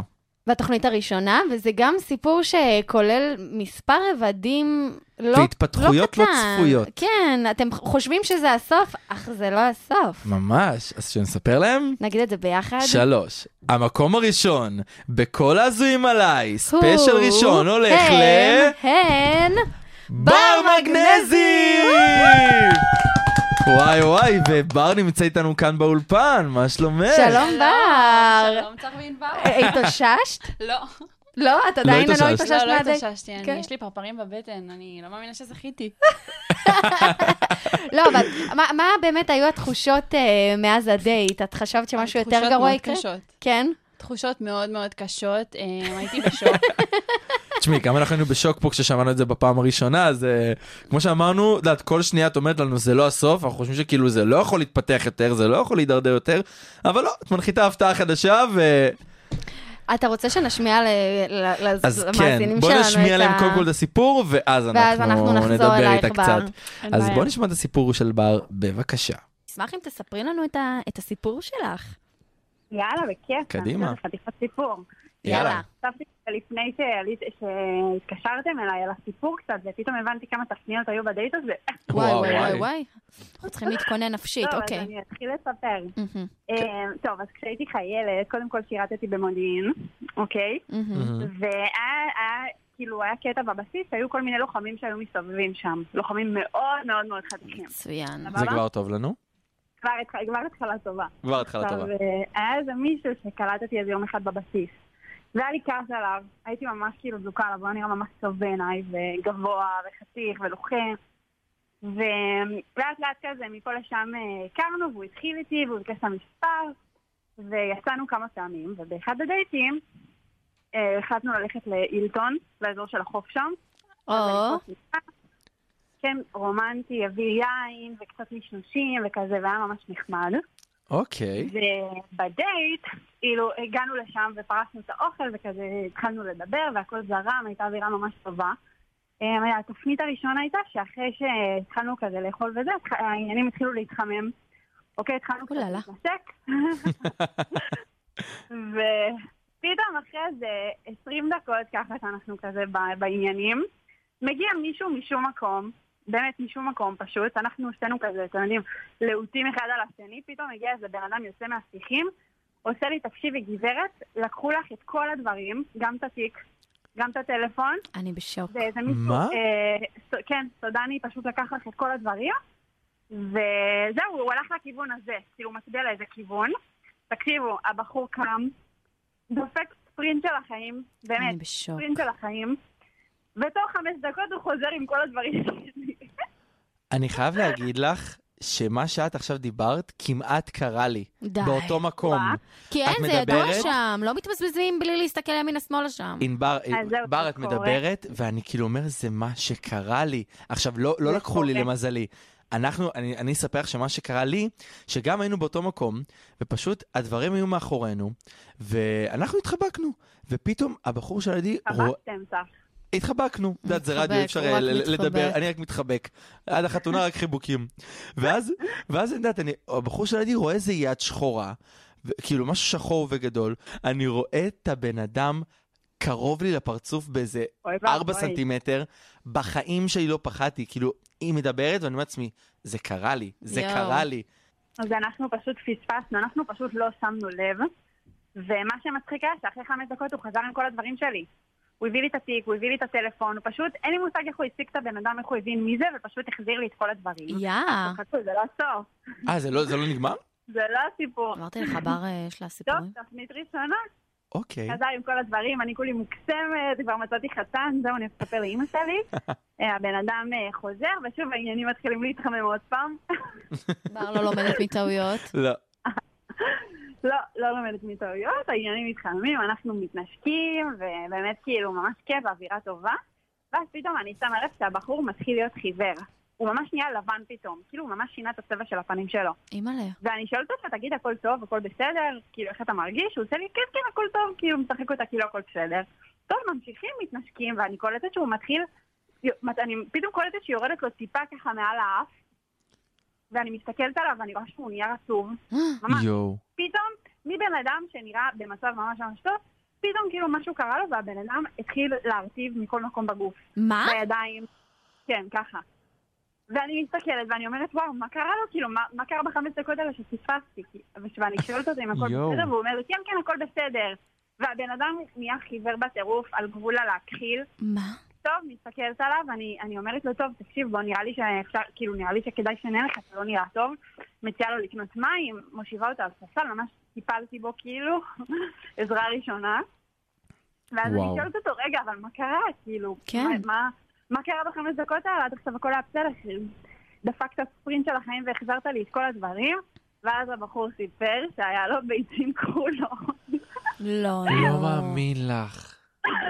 S5: בתוכנית הראשונה, וזה גם סיפור שכולל מספר רבדים לא לא
S4: והתפתחויות לא
S5: קטן.
S4: צפויות.
S5: כן, אתם חושבים שזה הסוף, אך זה לא הסוף.
S4: ממש, אז שנספר להם?
S5: נגיד את זה ביחד.
S4: שלוש, המקום הראשון בכל ההזויים עליי, ספיישל
S5: הוא-
S4: ראשון הולך ל...
S5: הן, הן,
S4: בר מגנזי! וואי וואי, ובר נמצא איתנו כאן באולפן, מה שלומך?
S5: שלום בר.
S8: לא, שלום, צחווין בר.
S5: אה, התאוששת?
S8: <laughs> לא,
S5: לא, את עדיין לא
S4: התאוששת.
S8: לא,
S5: התאוששת
S8: לא
S5: מהדק.
S8: התאוששתי, אני-
S5: כן.
S8: יש לי פרפרים בבטן, אני לא מאמינה שזכיתי.
S5: לא, אבל מה- מה באמת היו התחושות אה, מאז הדייט? את חשבת שמשהו <laughs> יותר גרוע יקרה?
S8: תחושות מאוד קשות.
S5: כן?
S8: תחושות מאוד מאוד קשות, אה,
S4: <laughs>
S8: הייתי בשוק.
S4: תשמעי, גם אנחנו היינו בשוק פה כששמענו את זה בפעם הראשונה, אז אה, כמו שאמרנו, את יודעת, כל שנייה את אומרת לנו זה לא הסוף, אנחנו חושבים שכאילו זה לא יכול להתפתח יותר, זה לא יכול להידרדר יותר, אבל לא, את מנחיתה הפתעה חדשה, ו...
S5: אתה רוצה שנשמיע ל- ל- ל-
S4: אז
S5: למאזינים
S4: כן, בוא
S5: שלנו את ה...
S4: נשמיע להם קודם כל את הסיפור, ואז
S5: ואז אנחנו
S4: אנחנו
S5: נחזור
S4: נדבר
S5: אלייך
S4: איתה
S5: בר.
S4: קצת.
S8: אין
S4: אז
S8: בעיה.
S4: בוא נשמע את הסיפור של בר, בבקשה.
S5: אשמח אם תספרי לנו את ה- את הסיפור שלך.
S15: יאללה, בכיף.
S4: קדימה.
S5: אה,
S15: זה חתיכת סיפור.
S4: יאללה.
S15: חשבתי שלפני שעלית- שהתקשרתם אליי על הסיפור קצת, ופתאום הבנתי כמה תפניות היו בדייט הזה.
S5: וואי
S4: וואו,
S5: וואי
S4: וואי.
S5: וואי וואי. אנחנו צריכים להתכונן נפשית,
S15: טוב, אז
S5: אוקיי. Mm-hmm.
S15: אני אתחיל לספר.
S5: מהמם,
S15: אמ, טוב, אז כשהייתי
S5: Mm-hmm.
S15: חיילת, קודם כל שירתתי במודיעין, אוקיי?
S5: מהמם.
S15: והיה היה כאילו היה קטע בבסיס, היו כל מיני לוחמים שהיו מסתובבים שם. לוחמים מאוד מאוד מאוד חדשים.
S5: מצוין.
S4: זה כבר טוב לנו?
S15: כבר התח- כבר התחלה טובה.
S4: כבר התחלה
S15: עכשיו,
S4: טובה.
S15: אה, היה איזה מישהו שקלטתי איזה יום אחד בבסיס. והיה לי כעס עליו, הייתי ממש כאילו דלוקה עליו, הוא היה נראה ממש טוב בעיניי, וגבוה, וחתיך, ולוחם. ולאט לאט כזה, מפה לשם אה, הכרנו, והוא התחיל איתי, והוא ביקש את המספר, ויצאנו כמה פעמים, ובאחד הדייטים אה, החלטנו ללכת לאילטון, לאזור של החוף שם.
S5: או.
S15: כן, רומנטי, הביא יין, וקצת נשנושים, וכזה, והיה ממש נחמד.
S4: אוקיי.
S15: ובדייט, כאילו, הגענו לשם ופרסנו את האוכל וכזה התחלנו לדבר והכל זרם, הייתה אווירה ממש טובה. אמ, התפנית הראשונה הייתה שאחרי שהתחלנו כזה לאכול וזה, התח- העניינים התחילו להתחמם. אוקיי, התחלנו קצת
S5: אוללה.
S15: להתנשק. ופתאום אחרי איזה 20 דקות ככה שאנחנו כזה ב- בעניינים, מגיע מישהו משום מקום, באמת משום מקום פשוט, אנחנו שתינו כזה, אתם יודעים, להוטים אחד על השני, פתאום הגיע איזה בן אדם יוצא מהשיחים, עושה לי, תקשיבי גברת, לקחו לך את כל הדברים, גם את התיק, גם את הטלפון.
S5: אני בשוק.
S15: זה איזה מישהו,
S5: מה?
S15: אה, ס- כן, סודני פשוט לקח לך את כל הדברים, וזהו, הוא הלך לכיוון הזה, כאילו הוא מצביע לאיזה כיוון. תקשיבו, הבחור קם, דופק ספרינט של החיים,
S5: אני
S15: באמת,
S5: בשוק.
S15: ספרינט של החיים, ותוך חמש דקות הוא חוזר עם כל הדברים שלי.
S4: אני חייב להגיד לך שמה שאת עכשיו דיברת כמעט קרה לי.
S5: די.
S4: באותו מקום.
S5: כי
S4: את
S5: אין, זה ידוע
S4: מדברת-
S5: שם, לא מתבזבזים בלי להסתכל ימינה שמאלה שם.
S4: ענבר,
S5: אז זהו,
S4: בר,
S5: זה
S4: את
S5: קורה.
S4: מדברת, ואני כאילו אומר, זה מה שקרה לי. עכשיו, לא, לא לקחו לי
S5: קורה.
S4: למזלי. אנחנו, אני, אני אספר לך שמה שקרה לי, שגם היינו באותו מקום, ופשוט הדברים היו מאחורינו, ואנחנו התחבקנו, ופתאום הבחור שלידי... רוא-
S15: חבקתם, צח. <laughs>
S4: התחבקנו, את יודעת, זה רדיו,
S15: מתחבק,
S4: אי אפשר
S15: הוא רק
S4: אה, ל-
S15: מתחבק.
S4: לדבר, אני רק מתחבק. עד החתונה רק חיבוקים. ואז, ואז, את יודעת, אני- הבחור שלידי רואה איזה יד שחורה, ו- כאילו משהו שחור וגדול, אני רואה את הבן אדם קרוב לי לפרצוף באיזה
S15: אוי ואבוי.
S4: 4 סנטימטר, בחיים שלי לא פחדתי, כאילו, היא מדברת ואני אומר לעצמי, זה קרה לי, זה
S15: יואו.
S4: קרה לי.
S15: אז אנחנו פשוט פספסנו, אנחנו פשוט לא שמנו לב. ומה שמצחיק היה שאחרי חמש דקות הוא חזר עם כל הדברים שלי. הוא הביא לי את התיק, הוא הביא לי את הטלפון, הוא פשוט, אין לי מושג איך הוא הציג את הבן אדם, איך הוא הבין מי זה, ופשוט החזיר לי את כל הדברים.
S5: יאה.
S15: חכו, זה לא הסוף,
S4: אה, זה לא זה לא נגמר?
S15: זה לא הסיפור.
S5: אמרתי לך, בר, אה, יש לה סיפורים?
S15: טוב, תפנית ראשונה,
S4: אוקיי.
S15: חזר עם כל הדברים, אני כולי מוקסמת, כבר מצאתי חתן, זהו, אני אספר לאימא שלי. אה, הבן אדם אה, חוזר, ושוב העניינים מתחילים להתחמם עוד פעם.
S5: בר לא לומדת מטעויות.
S4: לא.
S15: לא, לא לומדת מטעויות, העניינים מתחממים, אנחנו מתנשקים, ובאמת כאילו ממש כיף, אווירה טובה. ואז פתאום אני שמה לב שהבחור מתחיל להיות חיוור. הוא ממש נהיה לבן פתאום, כאילו הוא ממש שינה את הצבע של הפנים שלו.
S5: אימא'לה.
S15: ואני שואלת אותו, תגיד, הכל טוב, הכל בסדר? כאילו, איך אתה מרגיש? הוא עושה לי, כן, כן, הכל טוב, כאילו, משחק אותה, כאילו, הכל בסדר. טוב, ממשיכים, מתנשקים, ואני קולטת שהוא מתחיל, אני פתאום קולטת שיורדת לו טיפה ככה מעל האף, ואני מסתכלת עליו, ואני רואה שהוא נהיה רטוב. ממש.
S4: יואו.
S15: פתאום, מבן אדם שנראה במצב ממש ממש טוב, פתאום כאילו משהו קרה לו והבן אדם התחיל להרטיב מכל מקום בגוף.
S5: מה?
S15: בידיים. כן, ככה. ואני מסתכלת ואני אומרת, וואו, מה קרה לו? כאילו, מה, מה קרה בחמש דקות האלה שפספסתי? כי- ואני שואלת אותו אם הכל
S5: יואו.
S15: בסדר, והוא אומר לי, כן, כן, הכל בסדר. והבן אדם נהיה חיוור בטירוף על גבול הלהכחיל.
S5: מה?
S15: טוב, מסתכלת עליו, אני, אני אומרת לו, טוב, תקשיב, בוא, נראה לי שאפשר, כאילו, נראה לי שכדאי שנלך, אתה לא נראה טוב. מציעה לו לקנות מים, מושיבה אותו על ספסל, ממש טיפלתי בו, כאילו, <laughs> עזרה ראשונה. ואז אני
S5: וואו.
S15: שואלת אותו, רגע, אבל מה קרה? כאילו,
S5: כן.
S15: מה, מה, מה קרה בחמש דקות האלה? עד עכשיו הכל היה בסדר, דפקת ספרינט של החיים והחזרת לי את כל הדברים. ואז הבחור סיפר שהיה לו ביצים כחולות.
S5: לא,
S4: לא מאמין לך.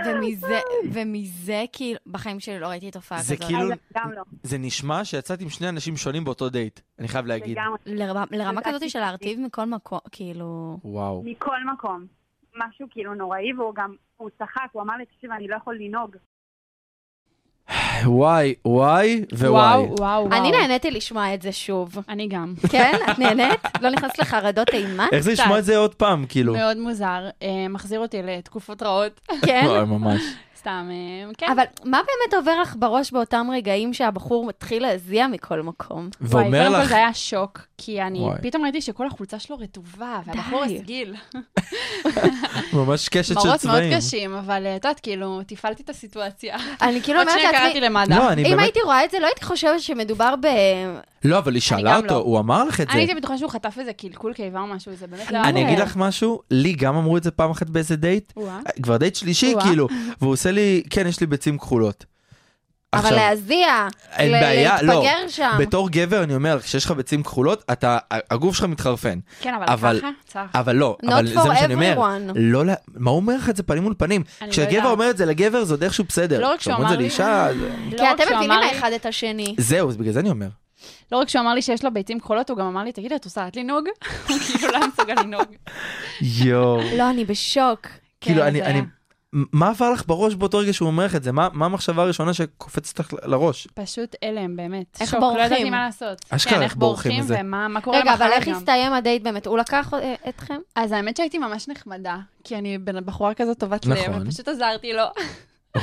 S5: ומזה, ומזה כאילו, בחיים שלי לא ראיתי
S15: אה,
S5: תופעה
S4: זה
S5: כזאת.
S4: כאילו-
S15: גם לא.
S4: זה נשמע שיצאת עם שני אנשים שונים באותו דייט, אני חייב להגיד.
S5: לרמה- לרמה
S15: זה
S5: כזאת של
S15: הכי-
S5: להרטיב מכל מקום, כאילו...
S4: וואו.
S15: מכל מקום. משהו כאילו נוראי, והוא גם, הוא צחק, הוא אמר לי, תקשיב, אני לא יכול לנהוג.
S4: וואי, וואי ווואי.
S5: אני נהניתי לשמוע את זה שוב.
S8: אני גם.
S5: <laughs> כן? את נהנית? לא נכנסת לחרדות אימה?
S4: איך זה לשמוע את זה עוד פעם, כאילו?
S8: מאוד מוזר, אה, מחזיר אותי לתקופות רעות.
S5: כן?
S4: וואי, ממש.
S8: <laughs> סתם, אה, כן.
S5: אבל מה באמת עובר לך בראש באותם רגעים שהבחור מתחיל להזיע מכל מקום?
S8: וואי,
S4: ואומר
S8: קודם כל
S4: לך-
S8: זה היה שוק, כי אני
S4: וואי.
S8: פתאום ראיתי שכל החולצה שלו רטובה, והבחור
S5: די.
S8: הסגיל.
S4: ממש קשת של צבעים.
S8: מראות מאוד קשים, אבל אה, את יודעת, כאילו, תפעלתי את הסיטואציה.
S5: אני כאילו אומרת
S8: עוד שנייה
S5: לעצמי-
S8: קראתי למד"א.
S4: לא, אני
S5: אם
S4: באמת-
S5: הייתי רואה את זה, לא הייתי חושבת שמדובר ב...
S4: לא, אבל היא שאלה
S8: גם
S4: אותו,
S8: לא.
S4: הוא אמר לך את זה.
S8: אני הייתי בטוחה שהוא חטף איזה קלקול קיבה או משהו, זה באמת לא...
S4: אני
S8: היה.
S4: אגיד לך משהו, לי גם אמרו את זה פעם אחת באיזה דייט,
S8: וואה.
S4: כבר דייט שלישי
S8: וואה.
S4: כאילו, והוא עושה לי, כן, יש לי ביצים כחולות.
S5: אבל
S4: עכשיו,
S5: להזיע,
S4: אין
S5: ל-
S4: בעיה, לא.
S5: להתפגר שם.
S4: בתור גבר אני אומר לך, כשיש לך ביצים כחולות, אתה, הגוף שלך מתחרפן.
S8: כן, אבל ככה? צריך.
S4: אבל לא,
S5: Not
S4: אבל זה
S5: for
S4: מה שאני אומר.
S5: everyone.
S4: לא, לה- מה הוא אומר לך את זה פנים מול פנים?
S8: אני לא
S4: כשהגבר
S8: יודעת.
S4: אומר את זה לגבר, זה עוד איכשהו בסדר.
S8: לא רק שהוא
S4: כשאומרים את
S8: אמר לי-
S4: זה לאישה, זה-
S8: לא
S5: כי
S8: רק
S5: אתם
S8: שהוא
S5: מבינים
S8: אמר לי-
S5: האחד את השני.
S4: זהו, אז בגלל זה אני אומר.
S8: לא רק שהוא אמר לי שיש לו ביצים כחולות, הוא גם אמר לי, תגידי, את עושה את לנהוג? הוא <laughs> כאילו לא היה מסוגל לנהוג.
S4: יואו.
S5: לא, אני בשוק.
S4: כאילו,
S8: כן,
S4: אני,
S8: זה
S4: אני,
S8: היה.
S4: מה עבר לך בראש באותו רגע שהוא אומר לך את זה? מה מה המחשבה הראשונה שקופצת לך ל- לראש?
S8: פשוט הלם, באמת.
S5: איך
S8: שוק,
S5: בורחים?
S8: לא ידעתי מה לעשות.
S4: אשכרה,
S8: כן,
S4: איך בורחים מזה?
S8: ומה מה קורה
S5: רגע,
S8: למחרת
S5: אבל איך
S8: גם.
S5: הסתיים הדייט באמת? הוא לקח אה, אתכם?
S8: אז האמת שהייתי ממש נחמדה, כי אני בן- בחורה כזאת טובת לב,
S4: נכון.
S8: ופשוט עזרתי לו.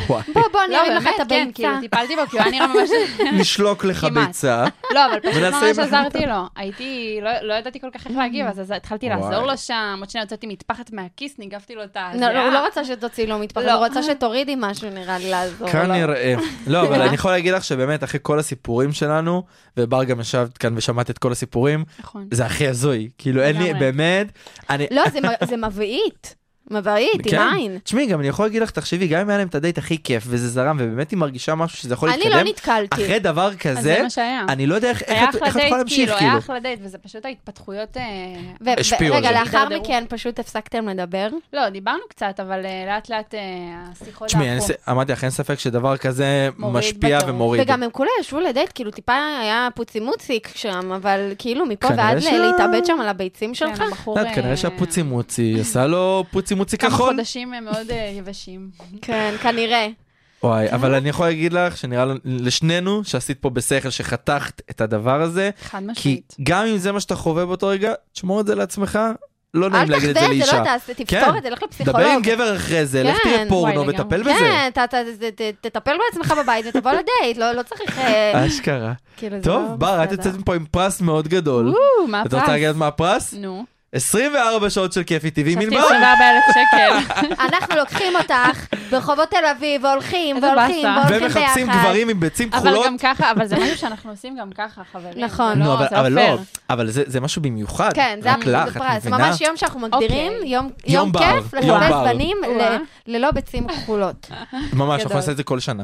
S4: וואי.
S5: בוא, בוא, אני
S8: לא,
S5: ארים לך
S8: באמת,
S5: את
S8: כן,
S5: הביצה.
S8: כאילו, טיפלתי בו, כי הוא היה נראה ממש...
S5: <laughs>
S4: נשלוק לך
S8: כמעט.
S4: ביצה.
S8: לא, אבל פשוט
S4: ונעשה
S8: ממש
S4: עם
S8: עזרתי לו. הייתי, לא- לא ידעתי כל כך איך להגיב, אז אז התחלתי
S4: וואי.
S8: לעזור לו שם, עוד שנייה יוצאתי מטפחת מהכיס, ניגבתי לו את ה...
S5: לא, לא, הוא לא רצה שתוציאי לו מטפחת,
S8: לא.
S5: הוא רצה שתורידי משהו, נראה לי, לעזור לו.
S4: כנראה. <laughs> לא,
S8: <laughs>
S4: אבל אני יכול להגיד לך שבאמת, אחרי כל הסיפורים שלנו, ובר גם ישבת כאן ושמעת את כל הסיפורים,
S8: נכון.
S4: זה הכי הזוי. כאילו, אין לי,
S8: לגמרי.
S4: באמת, אני...
S5: לא,
S4: <laughs>
S5: זה מ- זה מבעית. מבעית,
S4: כן.
S5: עם עין.
S4: תשמעי, גם אני יכול להגיד לך, תחשבי, גם אם היה להם את הדייט הכי כיף, וזה זרם, ובאמת היא מרגישה משהו שזה יכול
S5: אני
S4: להתקדם,
S5: לא נתקלתי.
S4: אחרי דבר
S8: אז זה
S4: כזה,
S8: מה שהיה.
S4: אני לא יודע איך
S8: היה
S4: איך את
S8: אחלה
S4: איך את
S8: דייט,
S4: יכולה להמשיך,
S8: כאילו, היה
S4: כאילו.
S8: אחלה דייט, וזה פשוט ההתפתחויות... אה,
S5: ו- ו-
S4: השפיעו על
S5: רגע,
S4: זה.
S5: לאחר
S8: הידרדרו.
S5: מכן פשוט הפסקתם לדבר?
S8: לא, דיברנו קצת, אבל אה, לאט לאט אה, השיחות
S4: תשמעי, אין
S8: דעכו.
S4: ס- אמרתי לך, אין ספק שדבר כזה
S8: מוריד
S4: משפיע
S8: בטירוף.
S4: ומוריד.
S5: וגם הם כולה ישבו לדייט, כאילו טיפה היה פוצימוציק שם, אבל כאילו מפה
S4: כנראה
S5: ועד
S4: ש-
S5: ל- להתאבד שם על הביצים
S8: כן,
S5: שלך?
S8: הבחור...
S4: את יודעת,
S8: אה,
S4: כנראה שהפוצי מוצי עשה לו פוצי
S8: <laughs>
S4: מוצי
S8: כמה
S4: כחול.
S8: חודשים הם מאוד אה, יבשים.
S5: כן, כנראה.
S4: וואי, אבל אני יכול להגיד לך שנראה לנו- לשנינו שעשית פה בשכל, שחתכת את הדבר הזה,
S8: חד
S4: כי
S8: משמעית.
S4: גם אם זה מה שאתה חווה באותו רגע, תשמור את זה לעצמך, לא נעים
S5: אל
S4: להגיד את
S5: תחווה
S4: זה
S5: את זה,
S4: לאישה.
S5: לא תעשה,
S4: כן.
S5: תפתור את זה, לך לפסיכולוג.
S4: דבר עם גבר אחרי זה, לך
S5: כן,
S4: תראה פורנו
S8: וואי,
S4: וטפל
S8: לגמרי.
S4: בזה.
S5: כן, ת- ת- ת- ת- תטפל בעצמך בבית ותבוא לדייט, לא לא צריך... אה,
S4: אשכרה.
S5: כאילו, זה
S4: טוב,
S5: לא
S4: בר, את
S5: בסדר.
S4: יוצאת מפה עם פרס מאוד גדול.
S8: וואו, מה
S4: את רוצה
S8: הפרס?
S4: להגיד מה הפרס?
S8: נו.
S4: 24 שעות של כיפי טבעי
S8: חשבתי
S4: מלבד.
S8: 24,000
S4: <laughs>
S8: שקל. <laughs>
S5: אנחנו לוקחים אותך ברחובות תל אביב, והולכים,
S8: איזה
S5: והולכים,
S8: באסה.
S5: והולכים ביחד.
S4: ומחפשים גברים עם ביצים
S8: אבל
S4: כחולות.
S8: גם ככה, אבל זה
S4: <laughs>
S8: משהו שאנחנו עושים גם ככה, חברים.
S5: נכון.
S8: זה
S4: נו, אבל-
S8: זה
S4: אבל
S8: פייר.
S4: לא, אבל זה זה משהו במיוחד.
S5: כן, זה
S4: אה, רק לך,
S5: זה
S4: את
S5: פרס.
S4: מבינה?
S5: ממש יום שאנחנו מגדירים,
S8: אוקיי.
S5: יום
S4: יום
S5: יום
S4: בר,
S5: כיף
S4: יום
S5: לחפש
S4: בר.
S5: בנים ל-
S8: וואה.
S5: ללא ביצים כחולות.
S4: <laughs> ממש,
S8: גדול.
S4: אנחנו נעשה את זה כל שנה.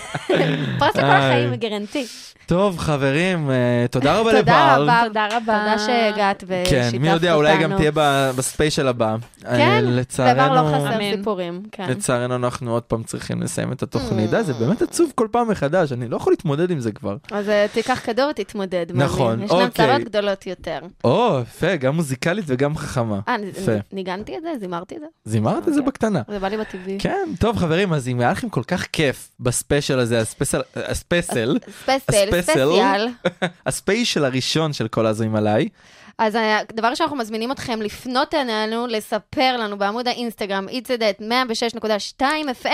S5: <laughs> פרס לכל
S4: איי.
S5: החיים, גרנטי.
S4: טוב, חברים, אה, תודה רבה לבר.
S5: תודה רבה,
S8: תודה רבה.
S5: תודה שהגעת ושיתפת אותנו.
S4: כן, מי יודע, אולי גם תהיה ב- בספיישל הבא. אה,
S5: כן, דבר לא
S4: לצערנו,
S5: חסר
S8: אמן.
S5: סיפורים. כן.
S4: לצערנו אנחנו עוד פעם צריכים לסיים את
S5: Mm.
S4: התוכנית. די, זה באמת עצוב כל פעם מחדש, אני לא יכול להתמודד עם זה כבר.
S5: אז אה, תיקח כדור ותתמודד. מאמין.
S4: נכון,
S5: ישנן
S4: אוקיי.
S5: צרות גדולות יותר.
S4: או, יפה, גם מוזיקלית וגם חכמה.
S5: אה, אני-
S4: יפה.
S5: ניגנתי את זה? זימרתי את זה?
S4: זימרת את זה
S5: אוקיי.
S4: בקטנה.
S5: זה בא לי בטבעי.
S4: כן, טוב חברים, אז אם היה לכם כל כך כיף בספיישל הזה, הספיישל, אה, הספיישל,
S5: ספייסל, ספייסיאל.
S4: <laughs> הספיישל הראשון של כל הזויים עליי,
S5: אז הדבר שאנחנו מזמינים אתכם לפנות אלינו, לספר לנו בעמוד האינסטגרם, it's a date 106.2 FM,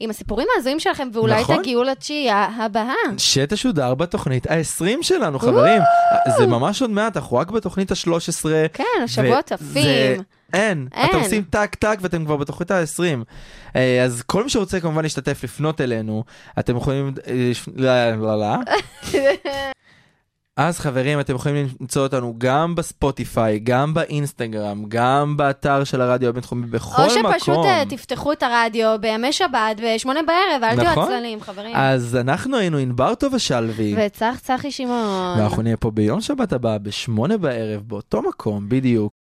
S5: עם הסיפורים ההזויים שלכם, ואולי
S4: נכון.
S5: תגיעו לתשיעייה הבאה. <laughs>
S4: שתשודר בתוכנית ה-20 שלנו, חברים. זה ממש עוד מעט, אנחנו רק בתוכנית ה-13.
S5: כן, השבועות
S4: זה...
S5: עפים.
S4: אין,
S5: אין.
S4: אתם עושים טק טק ואתם כבר בתוכנית ה-20. אז כל מי שרוצה כמובן להשתתף, לפנות אלינו, אתם יכולים... אה, לפ- לא,
S5: <laughs>
S4: לא, לא. אז חברים, אתם יכולים למצוא אותנו גם בספוטיפיי, גם באינסטגרם, גם באתר של הרדיו הבינתחומי, בכל
S5: או
S4: מקום.
S5: שפשוט אה, תפתחו את הרדיו בימי שבת, בשמונה בערב, אל תהיו
S4: נכון.
S5: עצלנים, חברים.
S4: אז אנחנו היינו ענבר טובה שלוי,
S5: וצח צחי שמעון.
S4: ואנחנו נהיה פה ביום שבת הבא, בשמונה בערב, באותו מקום בדיוק.